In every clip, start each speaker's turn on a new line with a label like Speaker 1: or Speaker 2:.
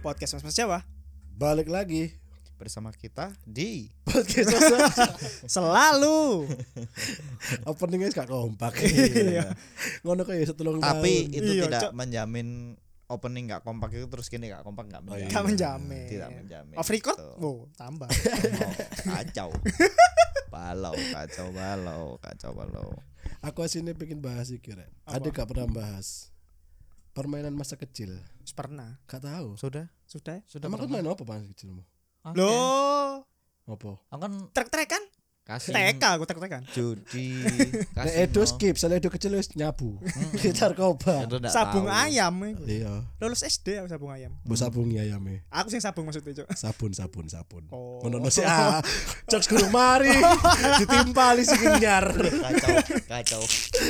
Speaker 1: podcast mas mas Jawa
Speaker 2: Balik lagi
Speaker 3: bersama kita di
Speaker 2: podcast masa
Speaker 1: selalu
Speaker 2: openingnya gak kompak.
Speaker 1: Iya.
Speaker 2: Ngono kayak setulung
Speaker 3: tapi
Speaker 2: tahun.
Speaker 3: itu
Speaker 1: Iya,
Speaker 3: tidak
Speaker 1: Cok.
Speaker 3: menjamin opening nggak kompak itu terus gini nggak kompak nggak menjamin,
Speaker 1: gak Oh, iya. menjamin
Speaker 3: Iya, tidak menjamin
Speaker 1: off record
Speaker 3: Gitu.
Speaker 1: wow tambah
Speaker 3: Oh, kacau balau kacau balau kacau balau
Speaker 2: Aku sini pengen bahas iki rek.
Speaker 1: Apa?
Speaker 2: Ada gak pernah bahas permainan masa kecil.
Speaker 1: pernah
Speaker 2: Gak tahu.
Speaker 3: sudah
Speaker 1: sudah ya?
Speaker 4: Sudah
Speaker 2: Emang kau
Speaker 4: pernah.
Speaker 2: main apa pas kecilmu?
Speaker 4: Oke.
Speaker 1: lo
Speaker 2: Apa?
Speaker 4: Aku kan
Speaker 1: trek trek kan
Speaker 4: kasih
Speaker 3: Iya.
Speaker 1: TK aku trek trek kan
Speaker 3: judi
Speaker 2: Nek
Speaker 4: kasih
Speaker 2: Edo skip, soalnya Edo kecil wis nyabu.
Speaker 3: Hmm.
Speaker 2: Gitar koba.
Speaker 3: Itu nggak
Speaker 1: sabung
Speaker 3: tahu.
Speaker 1: ayam itu.
Speaker 2: Iya.
Speaker 1: lulus SD aku sabung ayam
Speaker 2: Bu sabungi ayame.
Speaker 1: aku sih yang sabung maksudnya cok
Speaker 2: Sabun sabun sabun.
Speaker 1: Oh.
Speaker 2: Menono sih ah. Jokes guru mari. Ditimpali sih kenyar.
Speaker 3: kacau kacau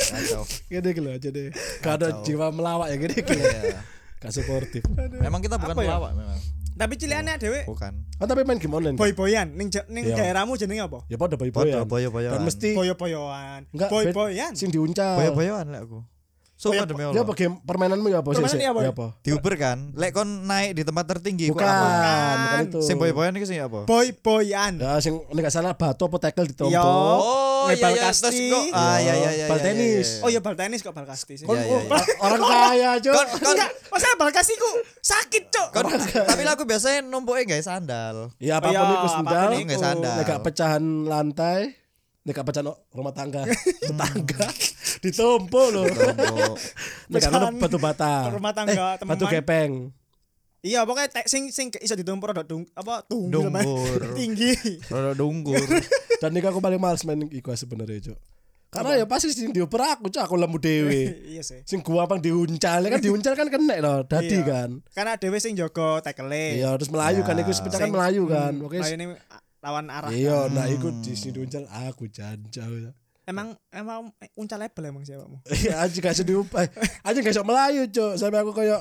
Speaker 3: kacau
Speaker 2: Gede gitu aja deh. Gak ada
Speaker 3: Kacau.
Speaker 2: jiwa melawak ya gede gitu.
Speaker 3: Iya.
Speaker 2: Gak suportif.
Speaker 3: memang kita bukan
Speaker 1: Apa ya?
Speaker 3: pelawak memang
Speaker 1: tapi ciliannya dewe
Speaker 3: bukan
Speaker 2: Oh tapi main game online.
Speaker 1: boy boyan ning ja- ning
Speaker 2: Iya.
Speaker 1: daerahmu jenenge apa
Speaker 2: Ya pada boy boyan.
Speaker 3: boyo boyo boyo
Speaker 2: Dan mesti
Speaker 1: boyo boyoan
Speaker 2: enggak
Speaker 1: boy
Speaker 2: ben-
Speaker 1: boyan
Speaker 2: sing
Speaker 1: Oh.
Speaker 2: diuncal.
Speaker 3: boyo boyoan lah aku Sumpah
Speaker 1: Boyo-
Speaker 3: demi
Speaker 2: Ya apa
Speaker 3: Allah
Speaker 2: game permainanmu ya apa sih?
Speaker 1: Permainan
Speaker 2: sih?
Speaker 1: ya apa?
Speaker 2: Ya apa?
Speaker 3: di Uber kan lek kon naik di tempat tertinggi ku
Speaker 2: Bukan,
Speaker 3: apa
Speaker 2: bukan itu.
Speaker 3: sing boyo boyoan itu sing apa
Speaker 1: boy boyan
Speaker 2: Ya sing nek gak salah batu apa tackle ditompo.
Speaker 1: Yo.
Speaker 3: Oh, iya,
Speaker 1: Ngebal
Speaker 3: iya,
Speaker 1: kasti.
Speaker 3: terus kok- ah, iya, iya, iya,
Speaker 2: Bal
Speaker 3: iya, iya,
Speaker 2: tenis.
Speaker 3: iya.
Speaker 1: oh ya bal tenis kok bal kasti sih
Speaker 2: Kon
Speaker 3: Iya,
Speaker 2: oh,
Speaker 3: iya,
Speaker 2: or- orang kaya aja.
Speaker 3: Kon- kon-
Speaker 1: enggak masalah bal kasti ku sakit cok
Speaker 3: kon- tapi lah aku biasanya numpuknya guys sandal.
Speaker 2: Ya
Speaker 1: Oh,
Speaker 2: apapun
Speaker 1: iya,
Speaker 2: itu sendal.
Speaker 1: apapun
Speaker 3: Nggak sandal.
Speaker 2: Nek gak pecahan lantai. Nek gak pecahan o- rumah tangga. Tetangga ditompo loh.
Speaker 3: Numpuk.
Speaker 2: Nek gak ono
Speaker 1: Pecahan
Speaker 2: batu bata.
Speaker 1: rumah tangga,
Speaker 2: Eh, Batu
Speaker 1: teman.
Speaker 2: gepeng.
Speaker 1: Iya pokoknya te- sing sing iso ditumpur rodok dung apa tunggul Mas.
Speaker 3: Dunggur.
Speaker 1: tinggi.
Speaker 3: Rodok dunggur.
Speaker 2: Dan ini aku paling males main iku sebenarnya, Cuk. Karena ya pasti sing dioper aku, Cuk, aku lemu dewe.
Speaker 1: iya sih.
Speaker 2: Sing gua apa diuncal kan diuncal kan kena loh, dadi
Speaker 1: Iya.
Speaker 2: kan.
Speaker 1: Karena dhewe sing jaga tekele.
Speaker 2: Iya, terus Melayu kan
Speaker 3: Nah,
Speaker 2: iku sepeda kan Melayu kan.
Speaker 3: hmm,
Speaker 2: Oke.
Speaker 1: Lah Hmm, ini a- lawan arah.
Speaker 2: Iya, nah iku di sini diuncal aku jancau.
Speaker 1: Emang emang eh, uncal label emang sih awakmu.
Speaker 2: Iya, aja gak sedih. Aja gak sok Melayu, Cuk. Sampai aku kayak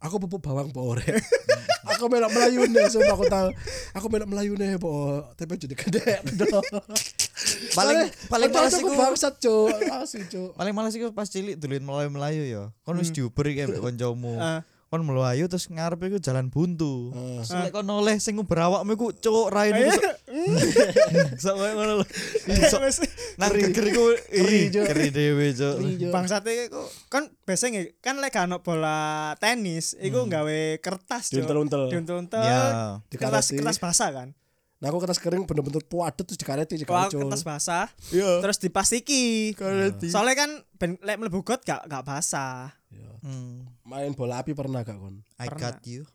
Speaker 2: aku pupuk bawang pore. aku melok Melayu nih, sumpah aku tahu. Aku melok Melayu nih, po. Tapi jadi gede.
Speaker 3: Paling- paling males
Speaker 2: aku
Speaker 3: iku-
Speaker 2: bangsat, Cuk. Asli, Cuk.
Speaker 3: Paling males iku pas cilik duluin Melayu-Melayu ya. Kon wis diuber iki ambek koncomu.
Speaker 1: Ah.
Speaker 3: Kon melayu terus ngarep iku jalan buntu. Terus Lek kon oleh sing nguber awakmu iku cuk raine iku sok- sok koyo ngono lho.
Speaker 2: Iya.
Speaker 3: Sok
Speaker 1: Wes,
Speaker 3: nang geger iku
Speaker 2: Ngeri,
Speaker 3: ih,
Speaker 2: Cuk.
Speaker 3: ngeri dhewe cuk.
Speaker 2: Iya.
Speaker 1: Bangsate ku kan biasanya nge- kan lek gak ono bola tenis iku nggawe kertas Cuk.
Speaker 2: Hmm. Diuntel-untel. Iya.
Speaker 1: Diuntel-untel.
Speaker 3: Ya.
Speaker 1: Kertas
Speaker 2: Dikareti.
Speaker 1: kertas basah kan.
Speaker 2: Nah, aku kertas kering bener-bener puadet terus dikareti
Speaker 1: Kalau
Speaker 2: juga,
Speaker 1: kertas
Speaker 2: Cuk.
Speaker 1: basah
Speaker 2: Iya.
Speaker 1: terus dipastiki.
Speaker 2: Kareti.
Speaker 1: Soalnya kan ben lek mlebu got gak gak basah.
Speaker 3: Hmm,
Speaker 2: Main bola api pernah gak, Kon?
Speaker 3: I
Speaker 1: Pernah.
Speaker 3: got you.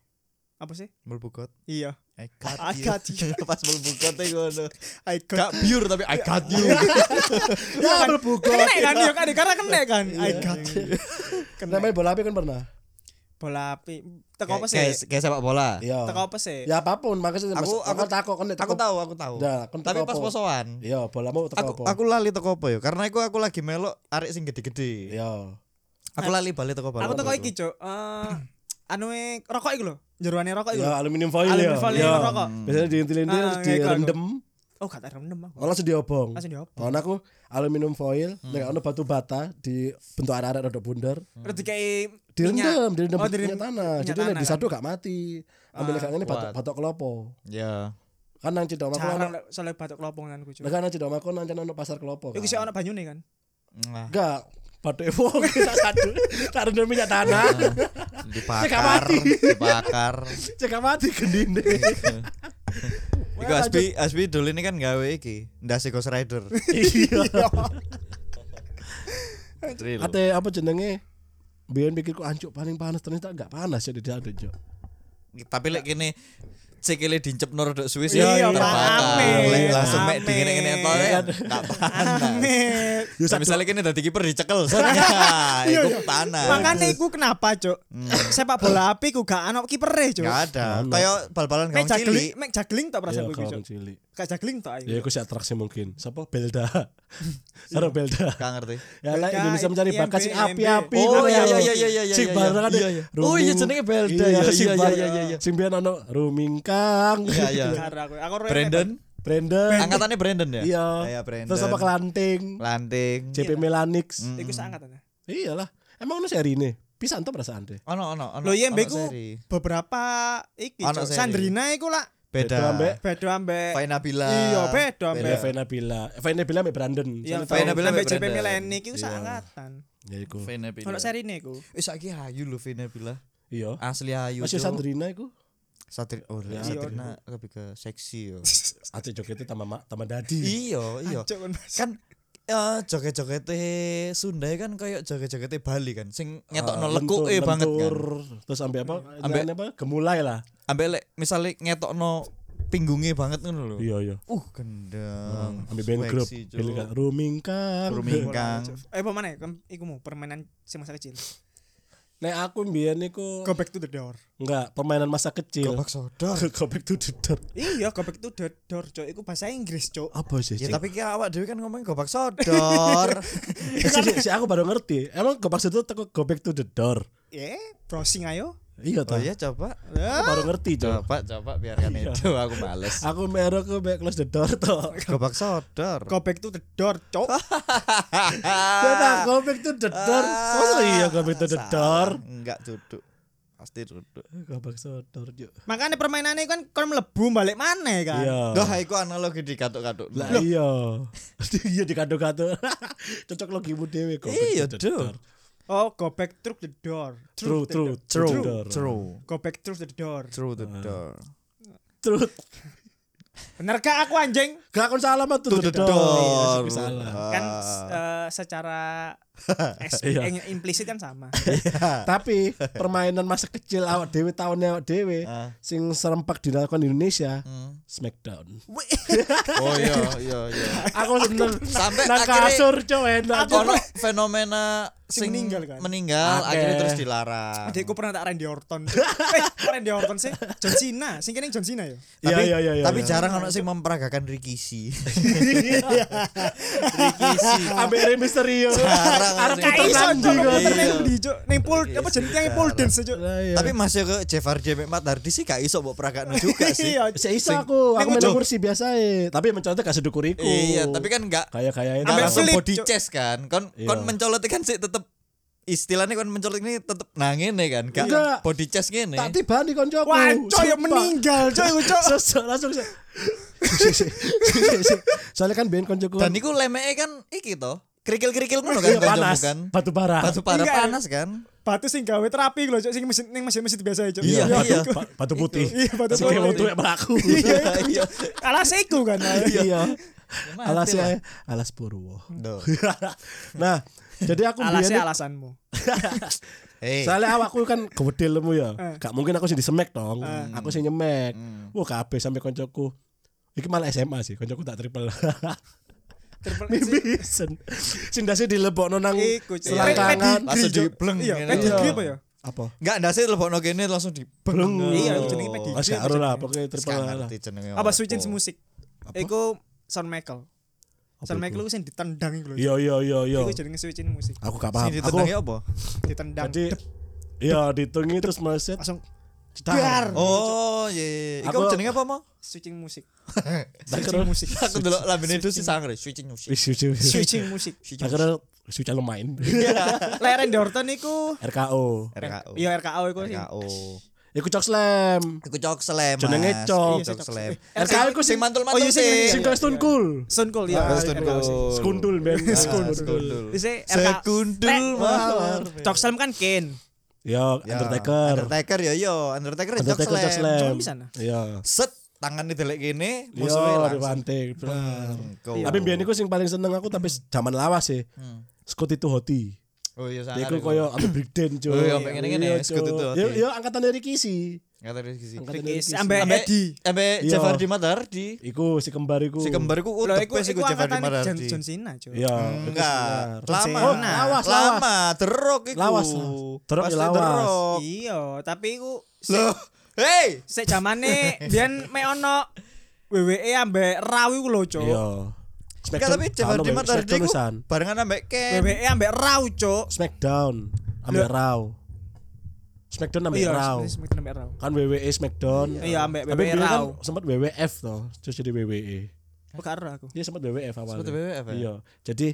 Speaker 1: Apa sih?
Speaker 3: Merbukot.
Speaker 1: Iya.
Speaker 3: I
Speaker 1: I got you.
Speaker 3: Pas merbukot iku ngono.
Speaker 1: I got
Speaker 3: Gak biur tapi I got you.
Speaker 2: Ya, mlebu Iya,
Speaker 1: kena Iya kan iya kan karena kena kan I got you.
Speaker 2: Nah,
Speaker 1: kena
Speaker 2: main bola api kan pernah?
Speaker 1: bola api teko apa
Speaker 3: Kayak
Speaker 1: sih
Speaker 3: kayak- kayak sepak bola.
Speaker 1: Ah,
Speaker 2: Iya.
Speaker 1: teko apa sih
Speaker 2: Ya apapun, makanya
Speaker 3: Aku- aku-
Speaker 2: takok kon nek
Speaker 3: Aku
Speaker 2: teko-
Speaker 3: tahu, aku tahu.
Speaker 2: Nah, kon
Speaker 3: Tapi
Speaker 2: teko
Speaker 3: pas
Speaker 2: apa?
Speaker 3: posoan.
Speaker 2: Iya, bola mau teko
Speaker 3: aku
Speaker 2: apa?
Speaker 3: aku lali teko apa ya? Karena aku aku lagi melok arek sing gede-gede.
Speaker 2: Iya.
Speaker 3: Aku lali balik teko apa?
Speaker 1: aku teko
Speaker 3: Apa
Speaker 1: iki cuk eh anu rokok iku lho jeroane rokok iku
Speaker 2: Ya
Speaker 1: lho.
Speaker 2: aluminium foil
Speaker 1: Aluminium
Speaker 2: ya.
Speaker 1: foil
Speaker 2: Ya.
Speaker 1: yang rokok.
Speaker 2: Biasanya diintil-intil
Speaker 1: Ah,
Speaker 2: terus
Speaker 1: iya, iku aku.
Speaker 2: direndem,
Speaker 1: oh gak tahu rendem aku
Speaker 2: oh, langsung diobong.
Speaker 1: langsung di
Speaker 2: Oh, nah, aku aluminium foil, nek ono batu bata di bentuk arek-arek rodok bundar,
Speaker 1: terus dikai
Speaker 2: direndem, direndam
Speaker 1: Oh,
Speaker 2: bentuknya
Speaker 1: direndem-
Speaker 2: tanah.
Speaker 1: minyak
Speaker 2: Jadi nek
Speaker 1: tanah kan? Ah,
Speaker 2: disaduk gak mati. Ambil gak ngene batok
Speaker 3: kuat.
Speaker 2: batok kelopo.
Speaker 3: Ya.
Speaker 2: Kan nang Cidoma aku ono.
Speaker 1: jarang lek- soalnya batuk lopongan ku cuk
Speaker 2: Lah kan nang Cidoma aku nang ono pasar kelopo.
Speaker 1: iku sih ono banyune kan
Speaker 3: Nah,
Speaker 2: Enggak. Batok wong tak saduk, tak rendam minyak
Speaker 1: Ah.
Speaker 2: tanah. Cekak
Speaker 3: dibakar,
Speaker 2: mati.
Speaker 3: dibakar.
Speaker 2: Cek gak mati gendine.
Speaker 3: Iku Asbi, Asbi dulu ini kan gawe iki, ndase Ghost Rider.
Speaker 2: Iya.
Speaker 3: Real.
Speaker 2: Ate apa jenenge? Biyen pikirku ancuk paling panas ternyata enggak panas ya di sana Cuk.
Speaker 3: Tapi lek kene cikile dincep nor dok Swiss
Speaker 1: Iya,
Speaker 3: ya
Speaker 1: Pak.
Speaker 3: terbakar.
Speaker 1: Amin.
Speaker 3: Lek langsung mek
Speaker 1: Amin.
Speaker 3: dingene-ngene to ya. Enggak panas.
Speaker 1: amit
Speaker 3: Nah, misalnya kene dadi kiper dicekel. Nah, Iku panas.
Speaker 1: makanya iku kenapa cuk
Speaker 2: Hmm.
Speaker 1: sepak bola api ku gak ono kipere cuk
Speaker 3: Enggak ada. Kayak bal-balan
Speaker 1: mek
Speaker 3: kawan
Speaker 1: juggling
Speaker 3: cilik.
Speaker 1: mek juggling tok
Speaker 2: Iya,
Speaker 1: perasaan ku
Speaker 2: kawan
Speaker 1: cuk Iya.
Speaker 2: cilik.
Speaker 1: gak juggling tok ayo
Speaker 2: Ya aku si atraksi mungkin. Siapa Belda? Karo
Speaker 1: Iya.
Speaker 2: Belda.
Speaker 3: Enggak ngerti.
Speaker 2: Ya lah
Speaker 1: Belda,
Speaker 2: Indonesia mencari
Speaker 1: IMB,
Speaker 2: bakat sing
Speaker 1: IMB.
Speaker 2: api-api.
Speaker 3: Oh,
Speaker 2: kan,
Speaker 3: iya,
Speaker 2: ya.
Speaker 3: iya, iya, iya, iya,
Speaker 2: Sing
Speaker 3: iya,
Speaker 2: bareng kan,
Speaker 3: iya, iya. Oh, iya,
Speaker 2: Ruming-
Speaker 3: jenenge Belda, iya,
Speaker 2: sing
Speaker 3: iya,
Speaker 2: bareng-
Speaker 3: iya, iya, iya.
Speaker 2: Sing biyen ono Rumingkang.
Speaker 3: Iya, iya.
Speaker 1: Gak ada aku aku roe-
Speaker 3: Brandon,
Speaker 2: Brandon.
Speaker 3: angkatannya Brandon ya?
Speaker 2: Iya.
Speaker 3: Iya, Brandon. iya. Hmm.
Speaker 2: Terus apa Kelanting?
Speaker 3: Lanting.
Speaker 2: JP Melanix.
Speaker 1: Iku seangkatan ya.
Speaker 2: Iyalah. Emang ono seri ini? pisan to perasaan deh.
Speaker 3: Ono ono ono.
Speaker 1: Lho iya
Speaker 3: ono
Speaker 1: mbek ku
Speaker 3: seri.
Speaker 1: beberapa iki Cok.
Speaker 3: Ono seri. Ya.
Speaker 1: Sandrina iku lah
Speaker 3: beda.
Speaker 2: Beda mbek.
Speaker 1: beda ambek
Speaker 3: Faina Bila.
Speaker 1: Iya, beda,
Speaker 2: Ya
Speaker 1: Iya.
Speaker 2: Vena Bila. Vena Bila mbek Brandon.
Speaker 1: Iya,
Speaker 2: Soalnya
Speaker 3: Vena
Speaker 1: Vena
Speaker 2: tau-
Speaker 3: Bila
Speaker 1: Bila
Speaker 3: mbek
Speaker 1: JP
Speaker 3: Brandon.
Speaker 1: Mileni iku
Speaker 2: Iya.
Speaker 1: seangkatan.
Speaker 2: Ya iku.
Speaker 3: Faina Bila.
Speaker 1: Ono serine iku.
Speaker 3: Wis saiki ayu lho Faina Bila.
Speaker 2: Iya.
Speaker 3: Asli ayu.
Speaker 2: Masih
Speaker 3: Cuk.
Speaker 2: Sandrina iku.
Speaker 3: Satri oh
Speaker 2: Iya,
Speaker 3: Satrina lebih ke seksi yo.
Speaker 2: Ate jogetnya tambah ma- tambah dadi.
Speaker 3: Iya, iya.
Speaker 1: Cok, kon Mas.
Speaker 3: Kan eh joget-jogete Sunda kan kayak joget-jogete Bali kan sing ngetokno lekuke banget kan.
Speaker 2: Ah, Terus sampai apa?
Speaker 3: Ambek-
Speaker 2: Ambek apa? Gemulai lah.
Speaker 3: Ambek lek misale ngetokno pinggungnya banget ngono lho.
Speaker 2: Iya iya.
Speaker 3: Uh, gendeng.
Speaker 2: Ambil band grup.
Speaker 3: Seksi, Cuk.
Speaker 2: Pilih kan Rumingkang.
Speaker 3: Rumingkang.
Speaker 1: Eh apa mana ya? Kan iku mau permainan si masa kecil.
Speaker 2: Nek aku mbiyen niku
Speaker 1: Go back to the door.
Speaker 2: enggak permainan masa kecil.
Speaker 3: Gobak sodor.
Speaker 2: Go back to the door.
Speaker 1: Iya, go back to the door, Cok. Iku bahasa Inggris, Cok.
Speaker 2: Apa sih?
Speaker 3: Ya
Speaker 2: Cik?
Speaker 3: tapi kira awak dhewe kan ngomong gobak sodor.
Speaker 2: Eh, sih, sih, sih, aku baru ngerti. Emang go back to the door, go back to the door.
Speaker 1: Eh, browsing ayo.
Speaker 2: Iya
Speaker 3: oh
Speaker 2: toh.
Speaker 3: iya Ah. coba.
Speaker 2: Aku baru ngerti, Cok.
Speaker 3: Coba Iya. coba biarkan itu aku males.
Speaker 2: Aku merok ke back close the door toh.
Speaker 3: Gobak sodor.
Speaker 1: Go back to the door, Cok.
Speaker 2: Coba go back Ya to the door. Masa iya go back to the door?
Speaker 3: Salah. Enggak duduk. Pasti duduk.
Speaker 2: Go back to the door, Cuk.
Speaker 1: Makanya permainannya kan kon mlebu balik mana kan.
Speaker 2: Iya.
Speaker 3: Doh, iku analogi di katuk-katuk.
Speaker 2: Lah iya. Iya dikado-kado. Cocok logimu dhewe kok.
Speaker 3: Iya, Cuk.
Speaker 1: Oh, go back through the door.
Speaker 2: True,
Speaker 1: Through the
Speaker 2: true,
Speaker 1: door.
Speaker 2: true,
Speaker 3: True.
Speaker 1: Go back through the door.
Speaker 3: Through the door.
Speaker 2: true.
Speaker 1: Bener gak aku anjing?
Speaker 2: Gak kon salah mah
Speaker 3: To
Speaker 2: tuh
Speaker 3: the
Speaker 2: door.
Speaker 3: door.
Speaker 2: Iya, Salah.
Speaker 1: Kan s- eh, secara eks-
Speaker 2: Ah. Iya.
Speaker 1: eh, implisit kan sama.
Speaker 2: Tapi permainan masa kecil awak dewe tahunnya awak dewe
Speaker 3: Ah.
Speaker 2: sing serempak dilakukan di Indonesia
Speaker 3: Hmm.
Speaker 2: Smackdown.
Speaker 3: Oh iya, iya, iya.
Speaker 2: Aku seneng
Speaker 3: Sampai
Speaker 2: nang
Speaker 3: akhirnya-
Speaker 2: kasur cowok enak Cuk.
Speaker 3: Ono fenomena
Speaker 1: Sing
Speaker 3: sing
Speaker 1: meninggal kan? Iya,
Speaker 3: Meninggal
Speaker 2: Akeh.
Speaker 3: akhirnya terus dilarang.
Speaker 1: Adikku pernah tak Randy Orton. eh, kok Randy Orton sih? John Cena, sing kene John Cena ya.
Speaker 2: Iya
Speaker 3: Tapi-
Speaker 2: iya iya. iya.
Speaker 3: Tapi jarang ono sing memperagakan Rikishi.
Speaker 2: Ambek Rey Mysterio.
Speaker 3: Jarang
Speaker 2: Arep
Speaker 3: sih.
Speaker 1: Gak
Speaker 2: puter
Speaker 1: iso Cok,
Speaker 2: nandi Ah, kok. iya.
Speaker 1: puter nang
Speaker 3: Iya.
Speaker 1: ndi, Cok? Ning pool apa jenenge yang pool dance Cok.
Speaker 2: Lah, iya.
Speaker 3: Tapi masih ke Jeff Hardy Matt Hardy sih gak iso mbok peragakno juga sih.
Speaker 1: Iya.
Speaker 2: Saya iso aku, aku
Speaker 1: Ning
Speaker 2: main
Speaker 1: ujung.
Speaker 2: kursi biasa eh. Tapi mencontoh gak sedukuriku.
Speaker 3: Iya, tapi kan gak
Speaker 2: kayak kayak
Speaker 3: Gak
Speaker 1: Ambil
Speaker 3: langsung
Speaker 1: flip,
Speaker 3: body
Speaker 1: Cuk.
Speaker 3: chest kan kon
Speaker 2: Iya.
Speaker 3: kon mencolot kan sih tetep istilahnya kon mencolot ini tetep nangin kan gak
Speaker 2: Enggak.
Speaker 3: body chest gini
Speaker 2: tak tiba nih koncoku.
Speaker 1: Wah, Cok ya meninggal Cok iku, Cok.
Speaker 2: Sosok langsung so- Sik, sik, sik, sik, sik. Soalnya kan ben koncoku.
Speaker 3: dan iku lemeke kan iki toh kerikil-kerikil ngono kan
Speaker 2: Iya,
Speaker 3: koncomu
Speaker 2: panas.
Speaker 3: kan
Speaker 2: Batu bara.
Speaker 3: batu para
Speaker 1: Enggak.
Speaker 3: panas kan
Speaker 1: Batu sing gawe terapi lho Cok, sing mesin ning mesin-mesin biasa Cok. Iya,
Speaker 3: Iya,
Speaker 2: batu,
Speaker 3: iya.
Speaker 1: iku.
Speaker 2: ba- batu putih.
Speaker 1: Iya, batu
Speaker 2: Sing kayak
Speaker 1: putih.
Speaker 2: wong tuwek melaku.
Speaker 3: iya
Speaker 1: Alas iku kan.
Speaker 2: Iya.
Speaker 3: mati
Speaker 2: Alasnya alas purwo.
Speaker 3: Duh.
Speaker 2: Nah, jadi aku
Speaker 1: Alasnya
Speaker 2: biyen-
Speaker 1: alasanmu.
Speaker 3: Hei,
Speaker 2: Soalnya awakku kan kewedel lemu ya.
Speaker 1: Eh.
Speaker 2: Gak mungkin aku sih disemek dong. Aku sih nyemek.
Speaker 3: Hmm.
Speaker 2: Wah, kabeh sampai koncoku. Iki malah SMA sih, koncoku tak triple. Mimisen. Sindase dilebokno nang
Speaker 1: Iku Cok.
Speaker 3: Iya.
Speaker 2: selangkangan.
Speaker 1: Pedigree,
Speaker 3: Langsung
Speaker 1: Cok.
Speaker 3: dibleng,
Speaker 1: Iya,
Speaker 3: ngene.
Speaker 1: pedigree
Speaker 2: Iya.
Speaker 1: apa ya?
Speaker 2: Apa?
Speaker 3: enggak ndase lebokno kene langsung di
Speaker 2: Belum.
Speaker 1: Iya, jenenge pedigree.
Speaker 2: Oh, Mas gak aruh lah, pokoknya triple
Speaker 3: Gak
Speaker 2: lah.
Speaker 3: ngerti jenenge
Speaker 1: Apa switchin
Speaker 3: Oh.
Speaker 1: musik? Iku Shawn Michael. Shawn
Speaker 2: Apa
Speaker 1: Michael iku sing ditendang iku lho.
Speaker 2: Iya, iya, iya, iya.
Speaker 1: Iku jenenge switchin musik.
Speaker 2: Aku gak
Speaker 3: sing
Speaker 2: paham. Aku
Speaker 3: ditenangi apa
Speaker 1: Ditendang.
Speaker 2: jadi
Speaker 1: dep,
Speaker 2: iya ditungi terus meleset.
Speaker 1: Langsung
Speaker 2: Dar.
Speaker 3: oh iya, iya iku
Speaker 2: Aku-
Speaker 3: jenenge apa mau
Speaker 1: switching musik. switching
Speaker 2: keren.
Speaker 1: musik.
Speaker 3: aku delok lambene itu sih sangre switching musik
Speaker 2: Wis wis wis.
Speaker 1: switching musik.
Speaker 2: Akhirnya suci lumayan.
Speaker 3: Iya.
Speaker 1: Leren Dorton iku
Speaker 2: RKO.
Speaker 3: RKO
Speaker 1: Iya RKO iku sih.
Speaker 3: RKO
Speaker 2: Iku cok slam.
Speaker 3: Iku cok slam.
Speaker 2: Jenenge
Speaker 3: Mas.
Speaker 2: cok.
Speaker 3: Iya, cok slam.
Speaker 1: Eh,
Speaker 2: RKO iku
Speaker 3: Sing
Speaker 2: sing
Speaker 1: Oh,
Speaker 3: mantul-mantul
Speaker 1: iya, sing-
Speaker 3: sih.
Speaker 2: sing
Speaker 1: Iya,
Speaker 2: Stone
Speaker 1: iya.
Speaker 2: Cool.
Speaker 1: Sun Cool ya.
Speaker 3: Ah, Stone
Speaker 1: RKO sih.
Speaker 3: Cool.
Speaker 2: Skundul ben.
Speaker 3: Ah,
Speaker 2: Skundul.
Speaker 3: Skundul.
Speaker 1: Wis RKO.
Speaker 3: Sekundul
Speaker 1: Lek-
Speaker 3: mawar.
Speaker 1: Cok Slam kan Kane.
Speaker 2: Ya,
Speaker 3: Ya,
Speaker 2: Undertaker.
Speaker 3: Undertaker ya yo, Undertaker cok
Speaker 2: Undertaker cok
Speaker 3: slam.
Speaker 2: slam.
Speaker 1: Cok bisa nah.
Speaker 2: Iya.
Speaker 3: Set tangannya delek kene,
Speaker 2: Iya,
Speaker 3: musuhnya langsung. Iya.
Speaker 2: dibanting. Blar.
Speaker 3: Go.
Speaker 2: Tapi biyen iku sing paling seneng aku tapi zaman lawas sih. Scott itu hoti.
Speaker 3: Oh iya sangar.
Speaker 2: Dia iku
Speaker 3: Hmm. iku.
Speaker 2: koyo ampe Brigden cuy.
Speaker 3: Oh, iya, ampe ngene-ngene ya, Scott itu Hoti.
Speaker 2: Yo yo angkatan dari Kisi.
Speaker 3: Nggak tahu dari sisi.
Speaker 2: Angkatan dari
Speaker 1: Ricky
Speaker 2: Kisi.
Speaker 1: sampe
Speaker 3: Ambe-
Speaker 1: Eddie.
Speaker 3: Ambe
Speaker 2: Iya.
Speaker 3: Jeff Hardy Matar di
Speaker 2: Iku si kembar iku.
Speaker 3: si kembar iku oh,
Speaker 1: Lho
Speaker 3: the
Speaker 1: iku
Speaker 3: best
Speaker 1: iku
Speaker 3: iku Jeff Hardy
Speaker 1: angkatan
Speaker 3: Matar
Speaker 1: John
Speaker 3: di.
Speaker 1: John Cena, Cuk.
Speaker 2: Iya, iku
Speaker 3: Hmm, Enggak,
Speaker 2: benar.
Speaker 3: lama,
Speaker 1: Oh,
Speaker 2: lawas,
Speaker 3: lama, terok iku.
Speaker 2: Lawas, Terok ya
Speaker 3: Pasti
Speaker 2: lawas.
Speaker 3: terok.
Speaker 1: Iya, tapi iku
Speaker 3: Loh, hey,
Speaker 1: sik jamane biyen mek ono WWE ambek Raw iku lho, Cuk.
Speaker 2: Iya.
Speaker 3: Enggak tapi Jeff Hardy mah tadi ku barengan ambek Ken.
Speaker 1: WWE E ambek Raw, Cuk.
Speaker 2: Smackdown ambek
Speaker 1: Loh.
Speaker 2: Raw. Smackdown
Speaker 3: Iya,
Speaker 2: ambek Raw.
Speaker 1: sebenarnya Smackdown Iya, ambek Raw.
Speaker 2: Kan WWE Smackdown.
Speaker 1: Iya, ambek
Speaker 2: Tapi
Speaker 1: WWE
Speaker 2: dia kan
Speaker 1: Raw.
Speaker 2: sempat WWF toh, terus jadi E. WWE.
Speaker 1: Bukan Raw aku.
Speaker 2: Dia sempat WWF awalnya.
Speaker 3: Sempat WWF ya?
Speaker 2: Iya. Jadi